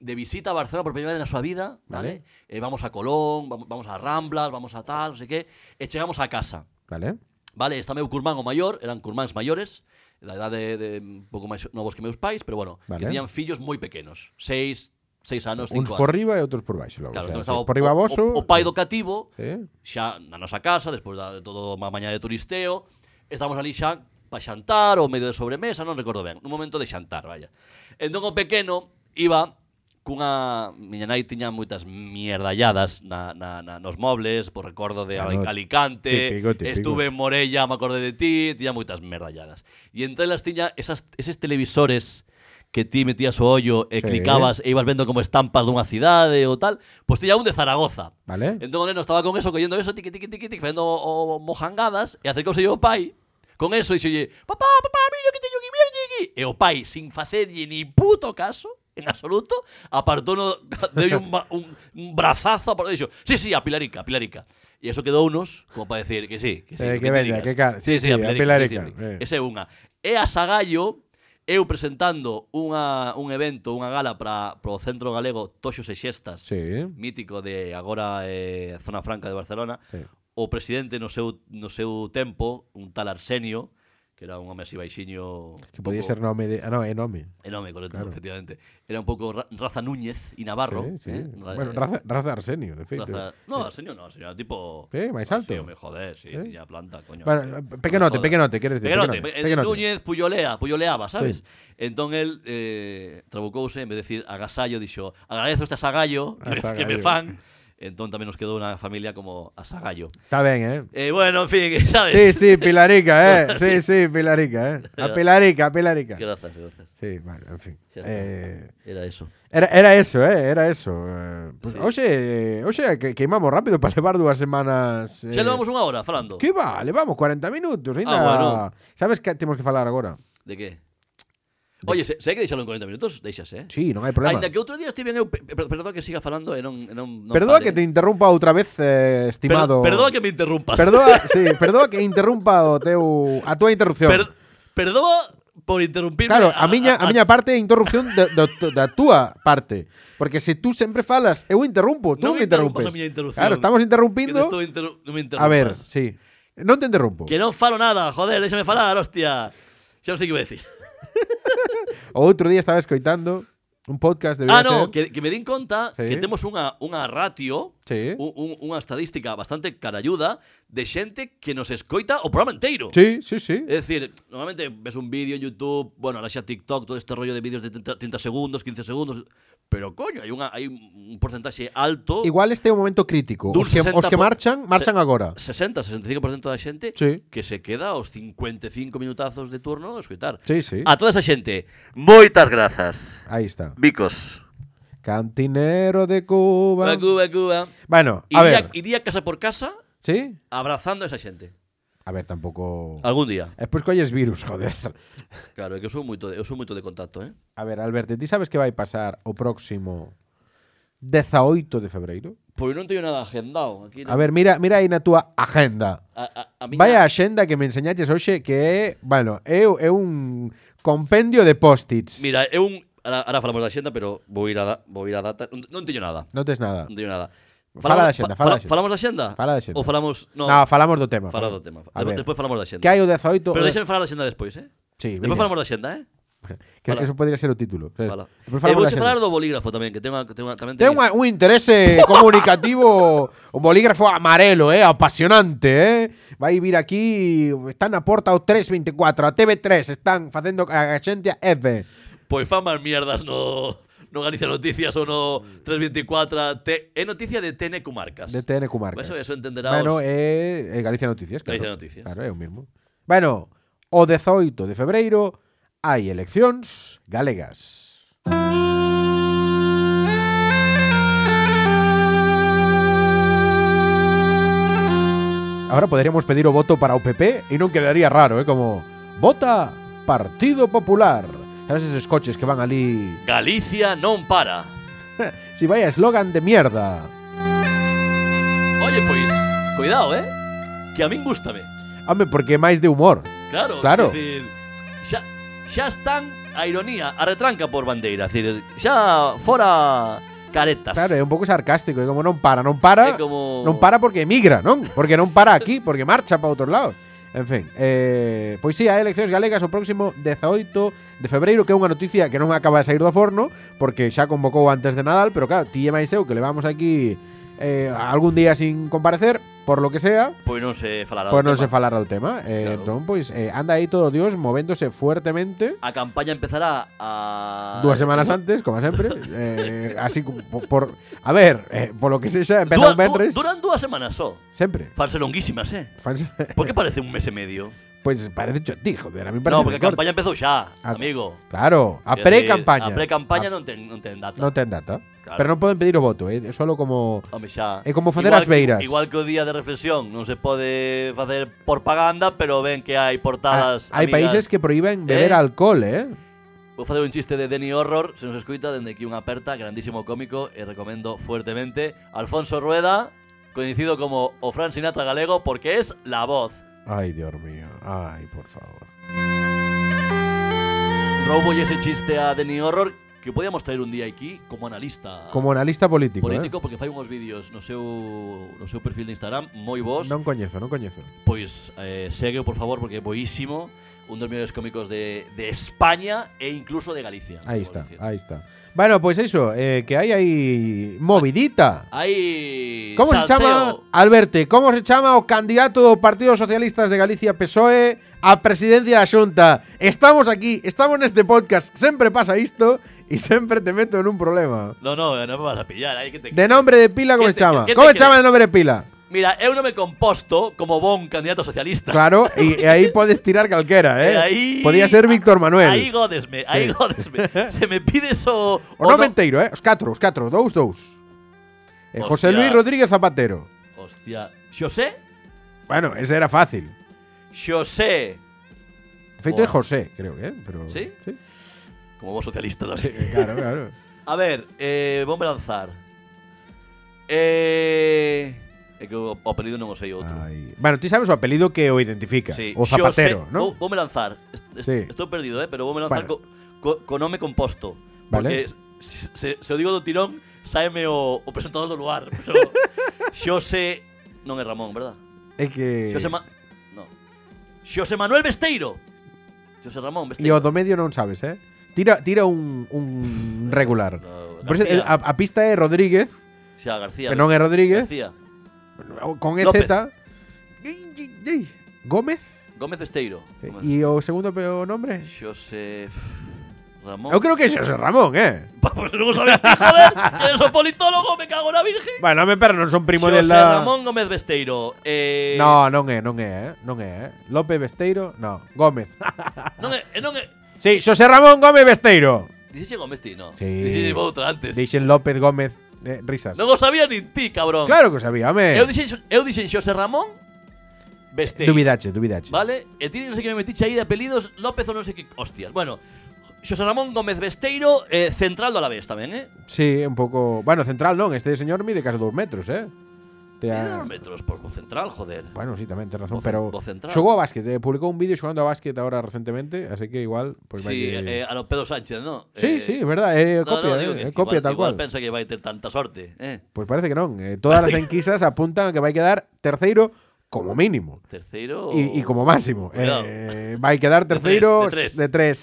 de visita a Barcelona por primeira vez na súa vida, vale? Eh, vamos a Colón, vam- vamos a Ramblas, vamos a tal, non sei que, e chegamos a casa. Vale. Vale, está meu curmán o maior, eran curmáns maiores, da idade de un pouco máis novos que meus pais, pero bueno, Vale. que tiñan fillos moi pequenos, seis, seis anos, Uns cinco por anos. riba e outros por baixo. Logo. Claro, o entón sea, estaba o, por riba o- voso. o, o pai do cativo, Sí. xa na nosa casa, despois da, de todo a mañá de turisteo, estamos ali xa para xantar ou medio de sobremesa, non recordo ben, nun momento de xantar, vaya. Entón o pequeno iba cunha... Miña nai tiña moitas mierdalladas na, na, na, nos mobles, por recordo de Claro, Ali- Alicante, Ah, típico, típico. estuve en Morella, me acordé de ti, tiña moitas merdalladas. E entre elas tiña esas, eses televisores que ti metías o ollo e Sí. clicabas e ibas vendo como estampas dunha cidade ou tal, pois tiña un de Zaragoza. Vale. Entón o neno estaba con eso, collendo eso, tiqui, tiqui, tiqui, tiqui, facendo o, o mojangadas, e acercouse o pai, con eso, e dixolle, papá, papá, mira que teño que ver, aquí. E o pai, sin facerlle ni puto caso, en absoluto, apartou no, *laughs* deu un, ba- un, un brazazo, apartou, e dixo, sí, sí, a Pilarica, a Pilarica. E eso quedou unos, como para decir que sí, que sí, Eh, o que te veña, digas. que ca- sí, sí, a Pilarica, eh. Esa é unha. E a Sagallo, eu presentando unha, un evento, unha gala para pro Centro Galego Toxos e Xestas, Sí. mítico de agora eh, Zona Franca de Barcelona, Sí. o presidente no seu, no seu tempo, un tal Arsenio, que era un home así baixiño... Que podía ser nome de. Ah, no, é nome. Enorme, correcto, efectivamente. Era un pouco ra- raza Núñez y Navarro. Sí, sí. eh, ra- Bueno, eh, raza, raza Arsenio, de feito. raza- No, Arsenio no, Arsenio era tipo... Sí, máis Ah, sí, alto. home, joder, sí, tiña planta, coño. Eh, Bueno, No me pequenote, jodas. pequenote, quieres decir, Pequenote, pequenote, pe- eh, pequenote. Núñez pullolea, pulloleaba, sabes? Entón el eh, trabucouse, en vez de decir agasallo, dixo agradezo este asagallo que, me- que Asagallo. me fan. Entón tamén nos quedou unha familia como asagallo. Está ben, eh. Eh, bueno, en fin, *laughs* ¿sabes? Sí, sí, Pilarica, eh. Sí, sí, Pilarica, *laughs* eh. A Pilarica, a Pilarica. Gracias, gracias. Sí, vale, en fin. Ya está. Eh, Era eso. Era, era eso, eh, era eso. Eh, pues, Oxe, oxe, que queimamos rápido para levar dúas semanas. Eh, Xa levamos unha hora falando. Que va, levamos 40 minutos, ainda. Ah, bueno. Sabes que temos que falar agora? De que? Oye, se, se hai que deixalo en 40 minutos? Deixase, eh? Sí, non hai problema. Ainda que outro día estive eu... pe- pe- Perdón que siga falando e non... e non, non Perdoa que pare. te interrumpa outra vez, eh, estimado. Perdo- Perdoa que me ah, interrumpas. Perdoa, sí, perdoa que interrumpa o teu a túa interrupción. Per- perdoa por interrumpirme. Claro, a miña, a miña parte é interrupción da, da, da túa parte. Porque se tú sempre falas, eu interrumpo, tú Non non me me interrumpes. interrumpas a miña interrupción. Claro, estamos Que non interrumpindo. estou interru- non me A ver, interrumpas. sí. Non te interrumpo. Que non falo nada, joder, déxame falar, hostia. Xa non sei que vou decir. O outro día estaba escoitando un podcast de ah, no, que, que me din conta Sí. que temos unha, unha ratio, Sí. un, un, unha estadística bastante carayuda de xente que nos escoita o programa enteiro. Sí, sí, sí. É dicir, normalmente ves un vídeo en YouTube, bueno, ahora xa TikTok, todo este rollo de vídeos de 30, 30 segundos, 15 segundos, pero coño, hai unha hai un porcentaxe alto. Igual este é un momento crítico. dun Os que, os 60 que por- marchan, marchan se- agora. 60, 65% da xente Sí. que se queda aos 55 minutazos de turno a escoitar. Sí, sí. A toda esa xente, moitas grazas. Aí está. Bicos. Cantinero de Cuba. Cuba, Cuba, Cuba. Bueno, a Iría, ver. iría casa por casa ¿Sí? abrazando a esa xente. A ver, tampouco... Algún día. Despois colles Eh, pois virus, joder. Claro, é que eu sou moito de, eu sou moito de contacto, eh? A ver, Alberto, ti sabes que vai pasar o próximo 18 de febreiro? Porque non teño nada agendado aquí. A ver, mira, mira aí na túa agenda. a, a, a miña, Vai a axenda que me enseñaches hoxe que é, bueno, é, é un compendio de post-its. Mira, é un Ahora, ahora falamos da xenda, pero vou ir a, da, vou ir a data. Non, non teño nada. Non tes nada. Non teño nada. Fala da xenda, fa- fala da xenda. Falamos da xenda? Fala da xenda. Ou falamos... No, No, falamos do tema. fala do tema. A Despo- ver, Despois falamos da xenda. que hai o 18... Pero déxame falar da xenda despois, eh? Sí, Despois veña. falamos da xenda, eh? Que Fala. eso podría ser o título. sabes? Fala. Despois E falamos vou da che xenda. falar do bolígrafo tamén, que ten unha... que Ten unha tamén Ten teño- unha- un interese comunicativo, un bolígrafo amarelo, eh, apasionante, eh. Vai vir aquí, están na porta o 324, a TV3, están facendo a xente a F. Pois fan máis pues mierdas no, no Galicia Noticias ou no 324. Te, é noticia de TN Comarcas. De TN Comarcas. Pues Eso, eso entenderá Bueno, os- é, é Galicia Noticias, claro. Galicia Noticias. Claro, é o mismo. Bueno, o 18 de febreiro hai eleccións galegas. Ahora poderíamos pedir o voto para o PP e non quedaría raro, é como vota Partido Popular. Sabes esos coches que van ali Galicia non para. Si vaya eslogan de mierda. Oye, pois, cuidado, eh? Que a min gustame. Home, porque é máis de humor. Claro, Claro. quer Decir, xa, xa están a ironía, a retranca por bandeira, es decir, xa fora caretas. Claro, é un pouco sarcástico, é como non para, non para, É como- non para porque emigra, non? Porque non para aquí, porque marcha para outros lados. En fin, eh, pois sí, hai eleccións galegas o próximo 18 de febreiro Que é unha noticia que non acaba de sair do forno Porque xa convocou antes de Nadal Pero claro, ti e máis eu que levamos aquí eh, algún día sin comparecer Por lo que sea Pois non se falará. Pois do non se tema. falar do tema eh, Claro. Entón, pois, eh, anda aí todo Dios movéndose fuertemente A campaña empezará a Dúas semanas antes, como sempre eh, Así, como po- por... A ver, eh, por lo que sexa, Dúa- empezan du- vendres duran dúas semanas só. Sempre Fanse longuísimas, eh. Fans- Por *laughs* que parece un mes e medio? Pois pues, parece cho ti, joder, a mí me parece no, porque a moi corto. campaña empezou xa, Ah, amigo. Claro, a Quer decir, pre-campaña A pre-campaña A- non ten, non ten data. non ten data Claro. Pero non poden pedir o voto, é eh, solo como Home, xa. É como facer Igual as que- beiras. Igual que o día de reflexión, non se pode facer propaganda, pero ven que hai Ah, portadas Hai amigas. países que proíben beber Eh? alcohol, eh Vou facer un chiste de Denny Horror, se nos escuita dende aquí unha aperta, grandísimo cómico e recomendo fuertemente Alfonso Rueda, coñecido como o Fran Sinatra galego porque es la voz. Ai, Dios mío, ai, por favor Roubo ese chiste a Denny Horror que podíamos traer un día aquí como analista Como analista político, político eh? porque fai uns vídeos no seu no seu perfil de Instagram moi vos, Non coñezo, non coñezo pois eh, segue por favor porque é boísimo, un dos mellores cómicos de, de España e incluso de Galicia. Ahí debo está, decir. ahí está. Bueno, pues eso, eh, que hay ahí movidita. Aí ¿Cómo se salseo. llama, Alberte, cómo se llama o candidato do Partido Socialistas de Galicia PSOE E, a presidencia da Xunta? Estamos aquí, estamos neste podcast, sempre pasa isto e sempre te meto en un problema. No, no, no me vas a pillar, aí que te De nombre de pila, como ¿Qué se te- chama? qué te Como se crees? chama de nombre de pila? Mira, eu non me composto como bon candidato socialista. Claro, y, ahí puedes tirar calquera, Eh, ¿eh? aí- Podía ser Víctor Manuel. Aí gódesme, aí *laughs* gódesme. Se me pides o... o nome enteiro, ¿eh? Os catro, os catro, dous, dous. Eh, José Hostia. Luis Rodríguez Zapatero. Hostia. Xosé? Bueno, ese era fácil. Xosé. Feito de Buah. José, creo que, ¿eh? Pero, ¿Sí? sí. Eh, Como vos socialista tamén. Claro, claro. A ver, eh, voume lanzar. Eh... É que o, o apelido non o sei outro. Ai. Bueno, ti sabes o apelido que o identifica, Sí, o Zapatero, Xosé- ¿no? Vou, voume lanzar. Est- est- Sí. Estou perdido, eh, pero voume lanzar Bueno. co, co, co nome E composto. Vale. Porque se, se, se o digo do tirón, saeme o, o presentador do lugar. Pero *laughs* Xosé... Non é Ramón, verdad? É que Xosé Ma... No. Xosé Manuel Besteiro. Xosé Ramón e o Besteiro. do medio non sabes, eh? Tira tira un, un regular. No, Por iso, García. a, a pista é Rodríguez, Xa, García. que non é Rodríguez, García. con E EZ. López. Ei, ei, ei. Gómez Gómez Besteiro. Gómez. e o segundo pe- o nombre? Xosé... Ramón. Eu creo que é Xosé Ramón, eh? *laughs* Pues non o sabías ti, joder, que eres o politólogo, me cago na virgen. Bueno, home, pero non son primo Xosé del da... Ramón Gómez Besteiro. Eh, No, non é, non é, eh? non é, eh? López Besteiro, no, Gómez. *laughs* Non é, eh, non é. sí, Xosé Ramón Gómez Besteiro. Dixe Gómez ti, no. Sí. Dixe outra antes. Dixen López Gómez eh, risas. Non o sabía nin ti, cabrón. Claro que o sabía, home. Eu dixen, eu dixen Xosé Ramón Besteiro. Dubidache, dubidache. Vale? E ti non sei que me metiche aí de apelidos López ou non sei que hostias. Bueno, Xosé Ramón Gómez Besteiro, eh, central do Alavés tamén, eh? Sí, un pouco... Bueno, central non, este señor mide casi dous metros, eh? Te Tiene a- dos metros por central, joder. Bueno, sí, tamén tens razón, Bo- pero bo central. xogou a básquet, eh, publicou un vídeo xogando a básquet ahora recentemente, así que igual pues vai Sí, que- eh, a los Pedro Sánchez, ¿no? Sí, Eh, sí, é verdad, é no, copia, no, digo eh, que é copia igual, tal igual cual. pensa que vai ter tanta sorte, eh? Pois parece que non, eh, todas *laughs* as enquisas apuntan a que vai quedar terceiro como mínimo. Terceiro Y, y como máximo. Oh. Cuidado. Eh, va a quedar De tres, tercero de tres. de tres.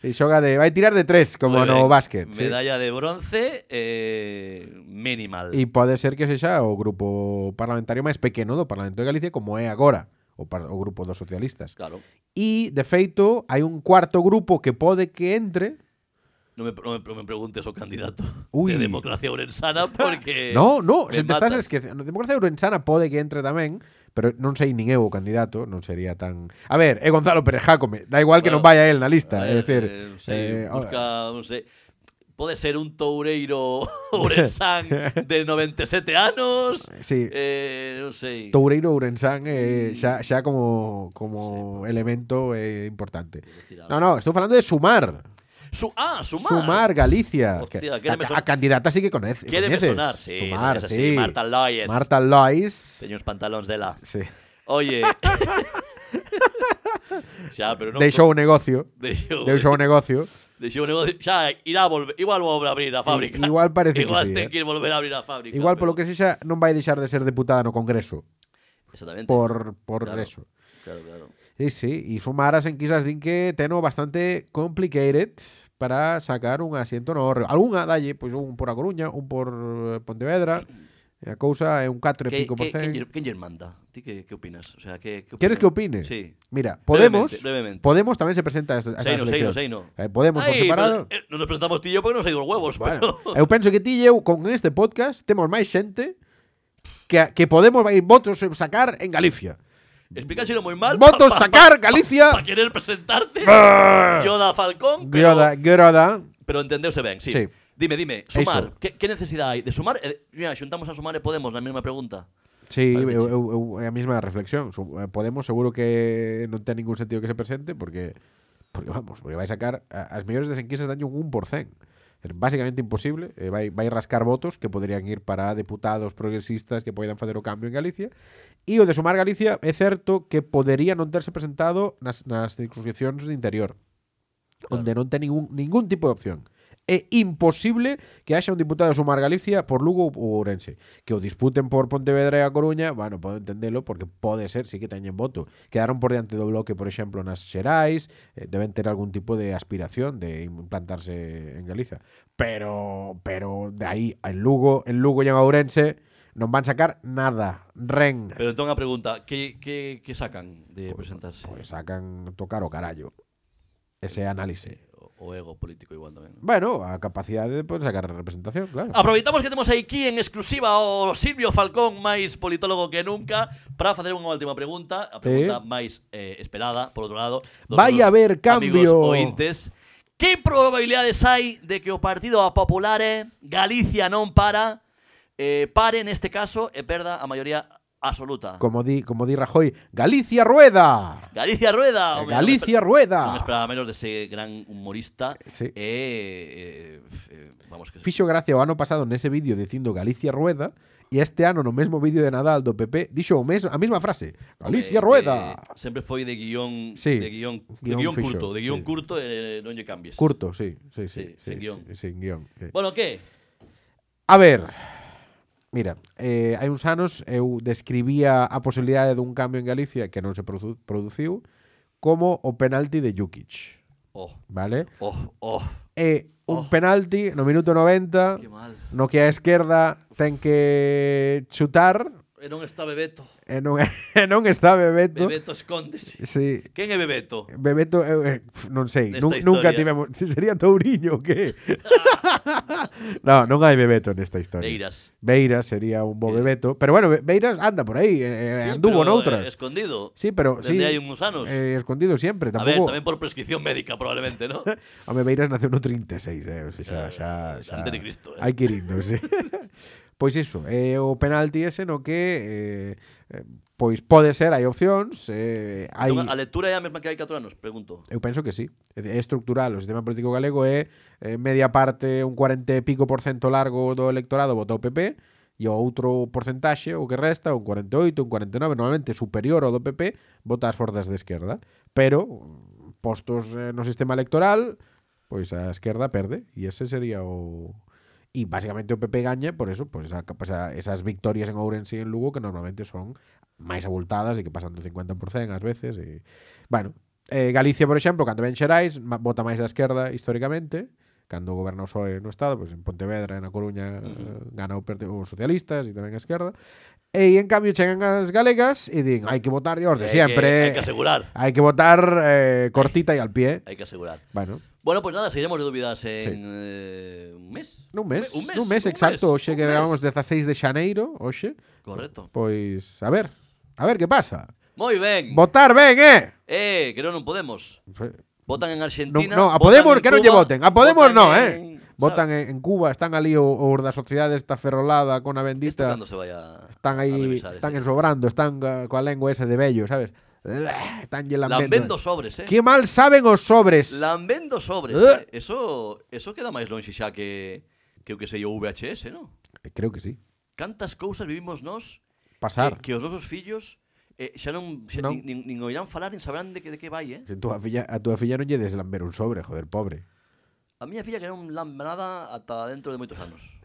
Si xoga de, va a tirar de tres, como Moi no ben. básquet. sí. pues Medalla de bronce eh, minimal. E pode ser que sexa o grupo parlamentario máis pequeno do Parlamento de Galicia como é agora, o, par- o grupo dos socialistas. Claro. E, de feito, hai un cuarto grupo que pode que entre. No me, no me- no me preguntes o candidato Ui. de democracia *laughs* orensana porque no, no, se Eh, me te estás matas. esquecendo. Democracia Urensana pode que entre tamén, pero non sei nin eu o candidato, non sería tan... A ver, é Gonzalo Pérez Jácome, da igual que Bueno, non vaya el na A lista, é ver, dicir... eh, eh, sí, busca, non sei, Pode ser un toureiro *laughs* orensán de *laughs* 97 anos. Sí. Eh, non sei. Toureiro Ourensán eh, xa, xa como, como elemento eh, importante. No, no, estou falando de sumar. Su- ah, sumar. Sumar Galicia. Hostia, que- a, quéreme a sonar. candidata sí que conoce, Quéreme coñeces. sonar, sí, Sumar, esa sí. sí, Marta Lois. Marta Lois. Teño os pantalóns dela. Sí. *laughs* Oye. xa, pero non Deixou o negocio. Deixou, Deixou o negocio. deixou o negocio. Xa, irá a volver, igual volve a abrir a fábrica. I- igual parece que igual sí, ten eh. que ir volver a abrir a fábrica. Igual polo que sexa non vai deixar de ser deputada no Congreso Exactamente. por por Claro. eso. Claro, claro. Sí, sí, e sumar as enquisas din que teno bastante complicated para sacar un asiento no Orreo. Algúnha dalle, pois un por A Coruña, un por eh, Pontevedra. e A cousa é un 4 e Que, pico por que, que, cen. lle- que lle manda? Ti que, que opinas? O sea, que, que Queres que opine? opinas? Sí. Mira, Podemos, Brevemente, brevemente. Podemos tamén se presenta a estas Seino, eleccións. seino, seino. Eh, Podemos por Ai, separado. pero, eh, non nos presentamos ti e yo porque non sei dos huevos, Bueno, pero... eu penso que ti e eu con este podcast temos máis xente que, que Podemos vai votos sacar en Galicia. *laughs* Explícaselo moi mal. Votos pa- pa- sacar pa- Galicia. Pa, pa querer presentarte. Yoda Falcón, pero, Groda, groda. pero entendeuse ben, sí. Sí. Dime, dime, sumar, Eso. que, que necesidade hai? De sumar, eh, mira, xuntamos a sumar e Podemos na mesma pregunta. Sí, Parece eu, que eu, eu, é a mesma reflexión. Su- eh, Podemos seguro que non ten ningún sentido que se presente porque porque vamos, porque vai sacar a- as mellores das enquisas danlle un 1%. É Basicamente imposible, eh, vai, vai rascar votos que poderían ir para deputados progresistas que poidan facer o cambio en Galicia. E o de Sumar Galicia é certo que podería non terse presentado nas, nas circunscripcións de interior, onde non ten ningún, ningún tipo de opción. É imposible que haxa un diputado de Sumar Galicia por Lugo ou Ourense. Que o disputen por Pontevedra e a Coruña, bueno, podo entendelo, porque pode ser, sí que teñen voto. Quedaron por diante do bloque, por exemplo, nas Xerais, eh, deben ter algún tipo de aspiración de implantarse en Galiza. Pero, pero de aí en Lugo, en Lugo e en Ourense, non van sacar nada. Ren. Pero entón a pregunta, que, que, que sacan de presentarse? Pois pues sacan tocar o carallo. Ese análise. O- O ego político igual tamén. ¿no? Bueno, a capacidade de poder sacar representación, claro. Aproveitamos que temos aquí en exclusiva o Silvio Falcón, máis politólogo que nunca, para facer unha última pregunta, a pregunta Sí. máis eh, esperada, por outro lado, dos Vai nosos haber cambio. Amigos ointes. Que probabilidades hai de que o Partido eh, Popular Galicia non para eh, pare neste caso e perda a maioría absoluta. Como di, como di Rajoy, Galicia rueda. Galicia Eh, Rueda. Ah, hombre, Galicia no me esper- Rueda. No me esperaba menos de ese gran humorista. Sí. Eh, eh, eh, vamos que Fixo gracia o ano pasado nese vídeo dicindo Galicia rueda e este ano no mesmo vídeo de Nadal do PP dixo o mes, a mesma frase. Galicia eh, rueda. eh, sempre foi de guión, Sí. de guión, de Guión guión fixo, curto, de guión sí. curto, eh, non lle cambies. Curto, sí, sí, sí, Sí, sí, sin guión. sí, sin guión, sí. Bueno, que? A ver. Mira, eh, hai uns anos eu describía a posibilidade dun cambio en Galicia que non se produ- produciu como o penalti de Jukic, Oh, vale? oh, oh, É un penalti no minuto 90 que mal. no que a esquerda ten que chutar E non está Bebeto. e non, *laughs* e non está Bebeto. Bebeto escóndese. Sí, Quen é Bebeto? Bebeto, eu, eh, pf, non sei, Nesta nun, nunca historia. tivemos, se sería Touriño o que? no, non hai Bebeto nesta historia. Ah, Beiras. Beiras sería un bo Bebeto, pero bueno, Be- Beiras anda por aí, eh, Sí, anduvo pero, noutras. eh, escondido. sí, pero sí. Dende hai uns anos. eh, escondido siempre, A ver, tampouco. tamén por prescripción médica probablemente, *laughs* ¿no? Home, Beiras naceu no 36, eh, o sea, xa, xa, xa Antes de Cristo, eh. Hai que ir indo, sí. pois iso, eh, o penalti ese no que eh, eh, pois pode ser, hai opcións, eh, hai Entón, a lectura é a mesma que hai 4 anos, pregunto. Eu penso que sí. É dicir, É estructural. O sistema político galego é eh, media parte, un 40 e pico por cento largo do electorado vota o PP e o outro porcentaxe, o que resta, un 48, un 49, normalmente superior ao do PP, vota as forzas de esquerda. Pero, mm, postos eh, no sistema electoral, pois a esquerda perde. E ese sería o... E basicamente o PP gaña por eso, por esa, esa, esas victorias en Ourense e en Lugo que normalmente son máis abultadas e que pasan do 50% ás veces. E... Bueno, eh, Galicia, por exemplo, cando ven Xerais, ma- vota máis á esquerda históricamente, cando goberna o PSOE no Estado, pois en Pontevedra, e na Coruña, eh, gana o perte- os socialistas e tamén a esquerda. E en cambio chegan as galegas e din, hai que votar os de Hai sempre, que- hai que asegurar. hai que votar eh, cortita e al pie. Hai que asegurar. Bueno, Bueno, pues nada, seguiremos de dúbidas en eh, un mes. nun mes, Un mes, nun mes exacto, mes, hoxe un que mes. gravamos 16 de xaneiro, hoxe, Correcto. pois Pues, a ver, a ver que pasa. Moi ben. Votar ben, eh? eh, que non non podemos. Votan en Non, Argentina. non, a votan Podemos en que non lle Cuba, voten. A Podemos votan non, en- eh. Votan en, en Cuba, están ali o, os da sociedade esta ferrolada con a Esto bendita. cando se vaya Están a aí, revisar, están eh. ensobrando, están uh, coa lengua esa de bello, sabes? Bleh, Están lle Lambendo lambendo. sobres, eh. Que mal saben os sobres. Lambendo sobres. Eh. eh. Eso eso queda máis longe xa que que o que sei o VHS, non? Eh, Creo que sí. Cantas cousas vivimos nós eh, Pasar. que, que os nosos fillos eh, xa non, xa Non. nin, nin, nin oirán falar, nin sabrán de que de que vai, eh? Se tú a, filla, a túa filla non lle des lamber un sobre, joder, pobre. A miña filla que non lambra nada ata dentro de moitos anos.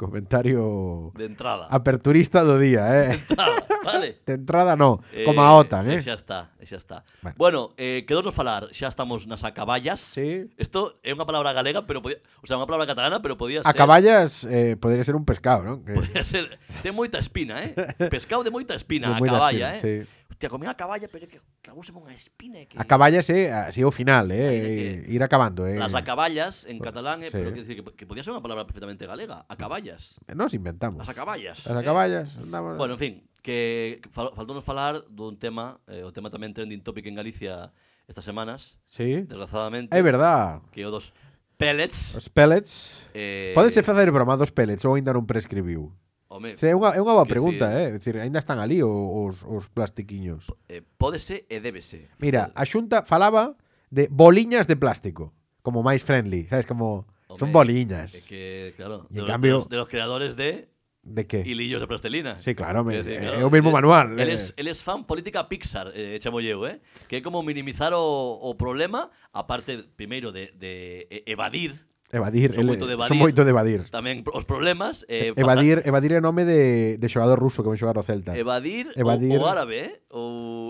Comentario De entrada. aperturista do día, eh. *laughs* Entrada, vale. De entrada no, como a OTAN, eh. Xa está, e xa está. Bueno. Bueno, eh, quedounos falar, xa estamos nas acaballas. Sí. Isto é unha palabra galega, pero podía, o sea, unha palabra catalana, pero podía ser... A caballas eh, podría ser un pescado, non? Que- Podía ser... Ten moita espina, *laughs* eh? Pescado de moita De espina, a moita caballa, espina, eh? sí. Hostia, comí a caballa, pero é que clavóseme unha espina. é Que... A caballas é así o final, eh, Ahí de ir acabando, eh. Las acaballas en catalán, eh, sí. pero que decir que, que podía ser unha palabra perfectamente galega. Acaballas. Nos inventamos. Las acaballas. Las eh. acaballas, andamos. Bueno, en fin, que fal- faltounos falar dun tema, eh, o tema tamén trending topic en Galicia estas semanas, sí. desgraciadamente. É verdad. que o dos pellets Os pellets. eh, Pódese facer broma dos pellets ou ainda non prescribiu? home, Sí, é unha, é unha boa que pregunta, decir- eh. É dicir, ainda están ali o- os, os plastiquiños. eh, pódese e débese Mira, a Xunta falaba de boliñas de plástico, como máis friendly, sabes, como Home, son boliñas. É que, claro, Y de, en los, cambio- de, los, de los creadores de De que? Hilillos de Plastelina. Sí, claro, me- Es é- decir, claro, é o mismo él- manual, Él eh. es, él es fan política Pixar, eh, chamo eu, eh? Que é como minimizar o, o problema, aparte, primeiro, de, de e- evadir Evadir, Son moito de evadir. son moito de evadir. tamén os problemas. Eh, pasar- Evadir, evadir é nome de, de xogador ruso que vai xogar ao Celta. Evadir, Evadir. O, o árabe, eh? O,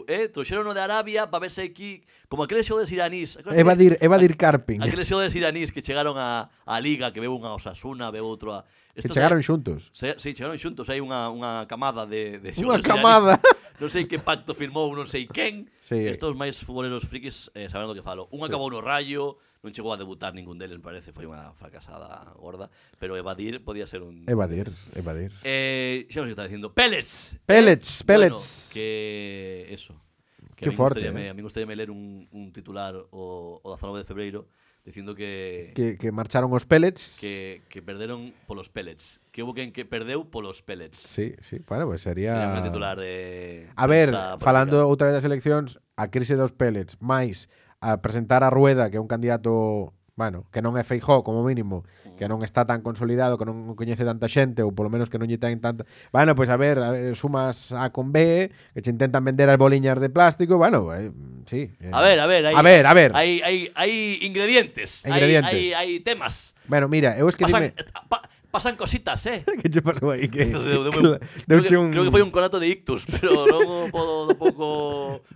eh? Trouxeron o de Arabia para verse aquí... Como aqueles xogos de iranís. Evadir, evadir eh, Carping. *laughs* Aqueles xogos de iranís que chegaron a, a Liga, que veu unha Osasuna, veu outro a... Que Estos chegaron aí- xuntos. Se, sí, chegaron xuntos, hai unha, unha camada de, de Unha xogadores camada. iraníes. *laughs* Non sei que pacto firmou, non sei quen. Sí. Estos máis futboleros frikis eh, saben do que falo. Un acabou no Rayo, non chegou a debutar ningún deles, me parece, foi unha fracasada gorda, pero evadir podía ser un Evadir, evadir. Eh, xa non sei que está dicindo. Pellets. Pellets, Bueno, pellets. que eso. Que Que a mí forte, gustaríame- eh. A mí gustaríame ler un, un titular o, o 19 de febreiro dicindo que Que, que marcharon os pellets. que, que perderon polos pellets. Que hubo quen que perdeu polos pellets. Sí, sí, bueno, pues Sería unha sería... titular de A ver, prensa falando política. outra vez das eleccións, a crise dos pellets, máis a presentar a Rueda, que é un candidato, bueno, que non é Feijó, como mínimo, Mm. que non está tan consolidado, que non coñece tanta xente, ou polo menos que non lle ten tanta... Bueno, pois a ver, a ver sumas A con B, que che intentan vender as boliñas de plástico, bueno, eh, sí. eh. A ver, a ver, hai, a ver, a ver. Hai, hai, hai ingredientes, hai- Ingredientes. Hai, hai, temas. Bueno, mira, eu es que dime... Pasan, pa- pasan cositas, *laughs* eh? que che pasou aí? Que, Deu- deu- que la- deu- creo, deuche que, creo que foi un conato de ictus, *laughs* pero non o podo tampouco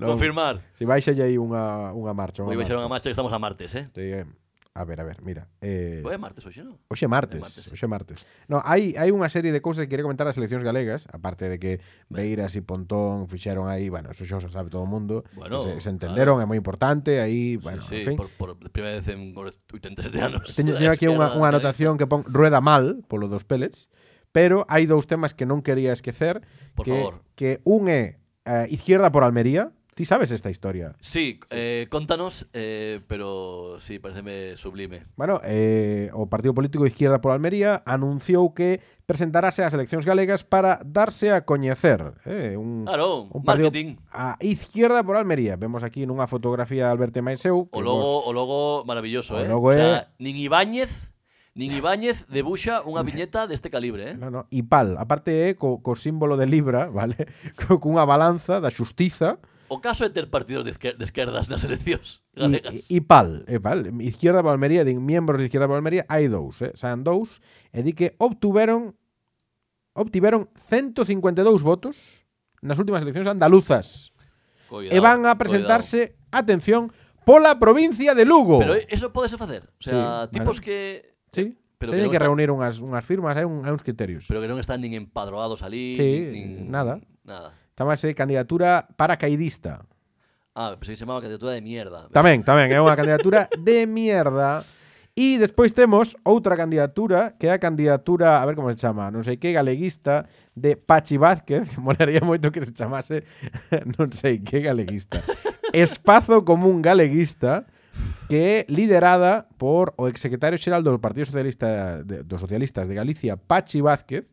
Non. confirmar. Si baixa aí unha, unha marcha. Hoy Unha vai ser marcha. unha marcha que estamos a martes, eh? Sí, eh. A ver, a ver, mira. Eh, Hoy é martes, hoxe, non? Hoxe é martes, martes, sí. hoxe é martes. No, hai hai unha serie de cousas que quería comentar das seleccións galegas, aparte de que Beiras e Pontón fixeron aí, bueno, eso xa o sabe todo o mundo, Bueno, que se, se entenderon, é moi importante, aí, bueno, sí, en sí, fin. por, por primeira vez en 87 anos. *laughs* Teño, teño aquí unha, unha anotación que pon rueda mal polo dos pellets, pero hai dous temas que non quería esquecer, Por que favor. que un é eh, izquierda por Almería, ti sabes esta historia. Sí, eh, contanos, eh, pero sí, pareceme sublime. Bueno, eh, o Partido Político de Izquierda por Almería anunciou que presentarase ás eleccións galegas para darse a coñecer. Eh, un, Claro, un partido marketing. A Izquierda por Almería. Vemos aquí nunha fotografía de Alberto Maiseu. O que logo, o logo maravilloso, O eh? logo o é- sea, nin Ibáñez, nin Ibáñez debuxa unha viñeta deste calibre, eh? vos- No, no, e pal, aparte é co, co símbolo de Libra, *laughs* vale? Co, cunha balanza da xustiza O caso é ter partidos de, esquer de esquerdas nas *laughs* eleccións e, galegas. e pal, e pal. Izquierda por Almería, din miembros de Izquierda por Almería, hai dous, eh? Saen dous, e di que obtuveron obtiveron 152 votos nas últimas eleccións andaluzas. Coidao, e van a presentarse, atención, pola provincia de Lugo. coidao. Pero eh, eso podese facer. O sea, Sí, tipos vale. que sí, pero teñen que que, non reunir unhas, unhas firmas, hai, un, hai uns criterios. pero que non están nin empadroados ali, Sí, nin, nada. Nada. Chamase candidatura paracaidista. Ah, pensei que se chamaba candidatura de mierda. Tamén, tamén, é unha candidatura de mierda. E despois temos outra candidatura, que é a candidatura, a ver como se chama, non sei que, galeguista, de Pachi Vázquez. *laughs* Molaría moito que se chamase *laughs* non sei que galeguista. Espazo Común Galeguista, que é liderada por o exsecretario xeral do Partido Socialista de, dos Socialistas de Galicia, Pachi Vázquez,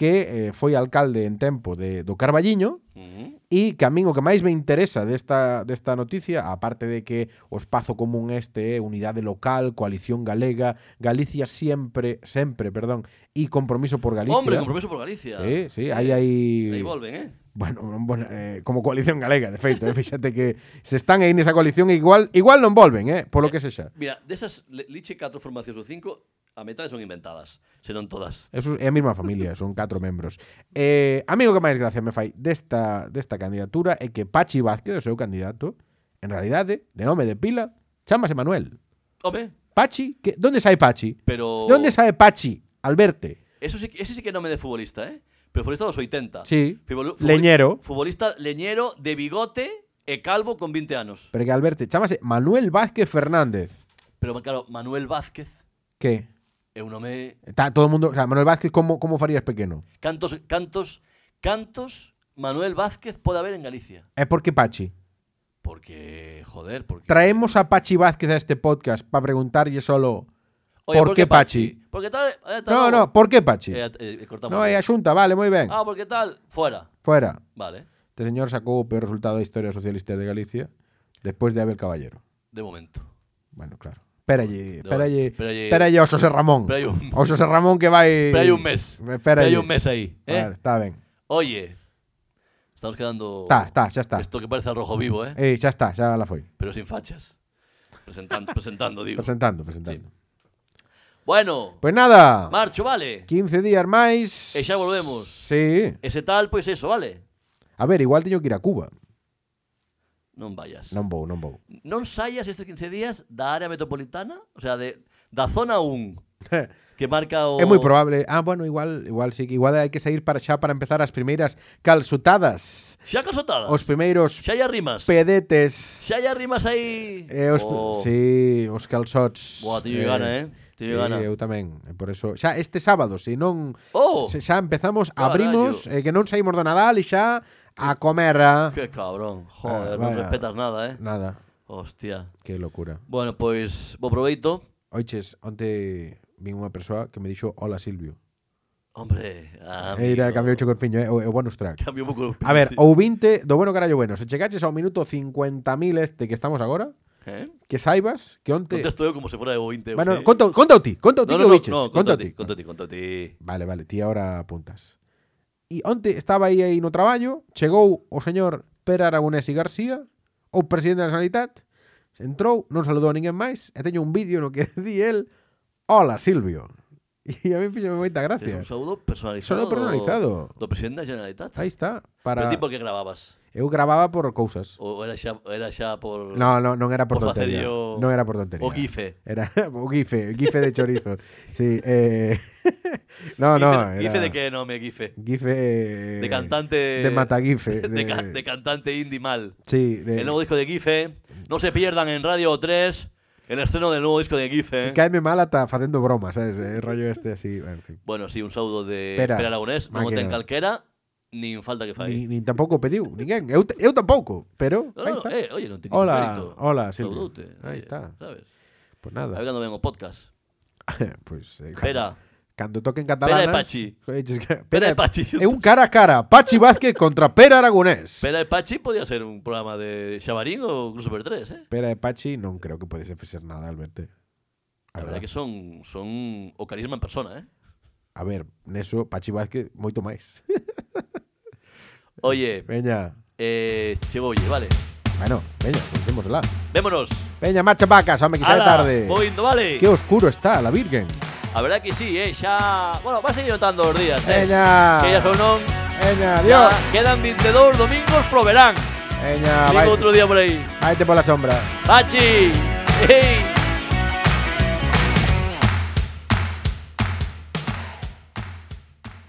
que eh, foi alcalde en tempo de, do Carballiño, Ujú. E que a min o que máis me interesa desta, desta noticia, aparte de que o espazo común este é unidade local, coalición galega, Galicia sempre, sempre, perdón, e compromiso por Galicia. Hombre, compromiso por Galicia. Sí, sí, aí hai... Aí volven, eh? Bueno, *laughs* non vol- eh, como coalición galega, de feito, eh, fíxate que se están aí nesa coalición e igual igual non volven, eh, polo que sexa. Mira, desas le- liche 4 formacións ou 5, a metade son inventadas, senón todas. Eso é a mesma familia, son catro membros. Eh, amigo que máis gracia me fai desta, desta candidatura é que Pachi Vázquez, o seu candidato, en realidade, de nome de pila, chamase Manuel. Home, Pachi, que, ¿dónde sabe Pachi? pero ¿Dónde sabe Pachi? Al verte. eso sí, que- ese sí que é nome de futbolista, eh? Pero futbolista dos 80. Sí. Futbolu- futboli- Leñero. Futbolista leñero de bigote e calvo con 20 anos. Pero que al verte, chámase Manuel Vázquez Fernández. Pero claro, Manuel Vázquez ¿Qué? é un nome Está todo el mundo. O sea, Manuel Vázquez, ¿cómo, cómo farías pequeño? Cantos, cantos, cantos Manuel Vázquez pode haber en Galicia. Es porque Pachi. Porque, joder, porque... Traemos a Pachi Vázquez a este podcast para preguntarle solo. Oye, ¿por qué Porque tal... eh, tal No, no, ¿por qué Pachi? Eh, eh, cortamos. No, es Junta, vale, muy bien. Ah, porque tal... Fuera. Fuera. Vale, Este señor sacó el peor resultado de historia socialista de Galicia después de Abel Caballero. de momento. Bueno, claro. Espéralle, espéralle, espéralle- espéralle a José Ramón. espéralle un- O José Ramón que Eh, va y... Pero hai un mes. Pero hai un mes aí. Eh? Vale, está bien. Oye, estamos quedando... Está, está, ya está. Esto que parece al rojo vivo, ¿eh? Eh, ya está, ya la fue. Pero sin fachas. *laughs* Presentan- presentando, digo. Presentando, presentando. Bueno, Pues nada, marcho, vale. 15 días máis. E xa Eh, volvemos. Sí. Ese tal, pois eso, vale. A ver, igual teño que ir a Cuba. Non vayas. Non vou, non vou. non saias estes 15 días da área metropolitana, o sea, de, da zona *laughs* 1, que marca o... É moi probable. Ah, bueno, igual, igual sí, que igual hai que sair para xa para empezar as primeiras calzutadas, Xa casotada. os primeiros Xa hai rimas. pedetes. Xa hai rimas aí. Eh, os, Oh. sí, os calzots. Buah, teño gana, eh. sí, Teño gana. eu tamén, e por eso xa este sábado, se non Oh! se xa empezamos, Carallo. abrimos, eh, que non saímos do Nadal e xa a comer a... Que cabrón. Joder, Ah, non vaya. respetas nada, eh. Nada. Hostia. Que locura. Bueno, pues, pois, bo proveito. Oiches, onte vin unha persoa que me dixo hola Silvio. Hombre, a E Era cambiou o corpiño, eh? o, o bonus track. Cambio un pouco. A ver, sí. o 20 do bueno carallo bueno. Se chegaches ao minuto 50.000 este que estamos agora, Eh? que saibas que onte... Contesto eu como se fora o 20. Bueno, ok? conta, conta o ti, conta o ti no, que no, o no, biches. no, conta o conta ti. ti, conta ti, conta ti. Vale, vale, ti ahora apuntas. E onte estaba aí aí no traballo, chegou o señor Pera Aragonés y García, o presidente da Sanidad, entrou, non saludou a ninguén máis, e teño un vídeo no que *laughs* di el Hola, Silvio. *laughs* E a mí fixo moita Tens gracia. un saúdo personalizado. Saúdo personalizado. Do, do presidente da Generalitat. Aí está, Pero para ti por que grababas? eu gravaba por cousas. O era xa, era xa por... No, no, non era por, por tontería. facerllo- Non era por tontería. o gife. Era *laughs* o gife, gife de *laughs* chorizo. sí, eh... *laughs* no, Gife- no, era... Gife de que no me gife. Gife De cantante... de Matagife, *laughs* De, de- ca- de cantante indie mal. Sí, de... El nuevo disco de Gife. No se pierdan en Radio 3 el estreno del nuevo disco de Gife. Si caeme mal ata facendo bromas, sabes? El rollo este así, en fin. Bueno, sí, un saúdo de Pera, Pera, Aragonés. Non o máquina. ten calquera, nin falta que fai. Ni, nin tampouco pediu, ninguén. Eu, t- eu tampouco, pero No, aí no, está. eh, oye, non te Hola, hola, Silvio. Ahí Ahí está. está. eh, ¿Sabes? Pues A nada. ver cando ven o podcast. *laughs* pues, eh, Pera. Cando toquen catalanas... Pera e Pachi. joder, es que- Pera e e- Pachi. É un cara a cara. Pachi Vázquez contra Pera Aragonés. Pera e Pachi podía ser un programa de Xabarín ou Cruz Super 3, eh? Pera e Pachi non creo que podese facer nada, Alberto. A verdade que son son o carisma en persona, eh? A ver, neso, Pachi Vázquez, moito *laughs* máis. Oye, Veña. eh, chegoulle, vale. Bueno, veña, conocémosla. Vémonos. Veña, marcha vacas, home, que xa é Ala, tarde. Vou indo, vale. Que oscuro está, la Virgen. A verdade que sí, eh, xa... Bueno, vas a seguir notando os días, eh? Veña. Que ya son non... Veña, Xa adiós. Ah, quedan 22 domingos pro verán. Veña, Digo vai. outro día por aí. Váete pola sombra. Pachi! Ei!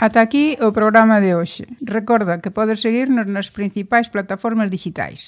Ata aquí o programa de hoxe. Recorda que podes seguirnos nas principais plataformas digitais.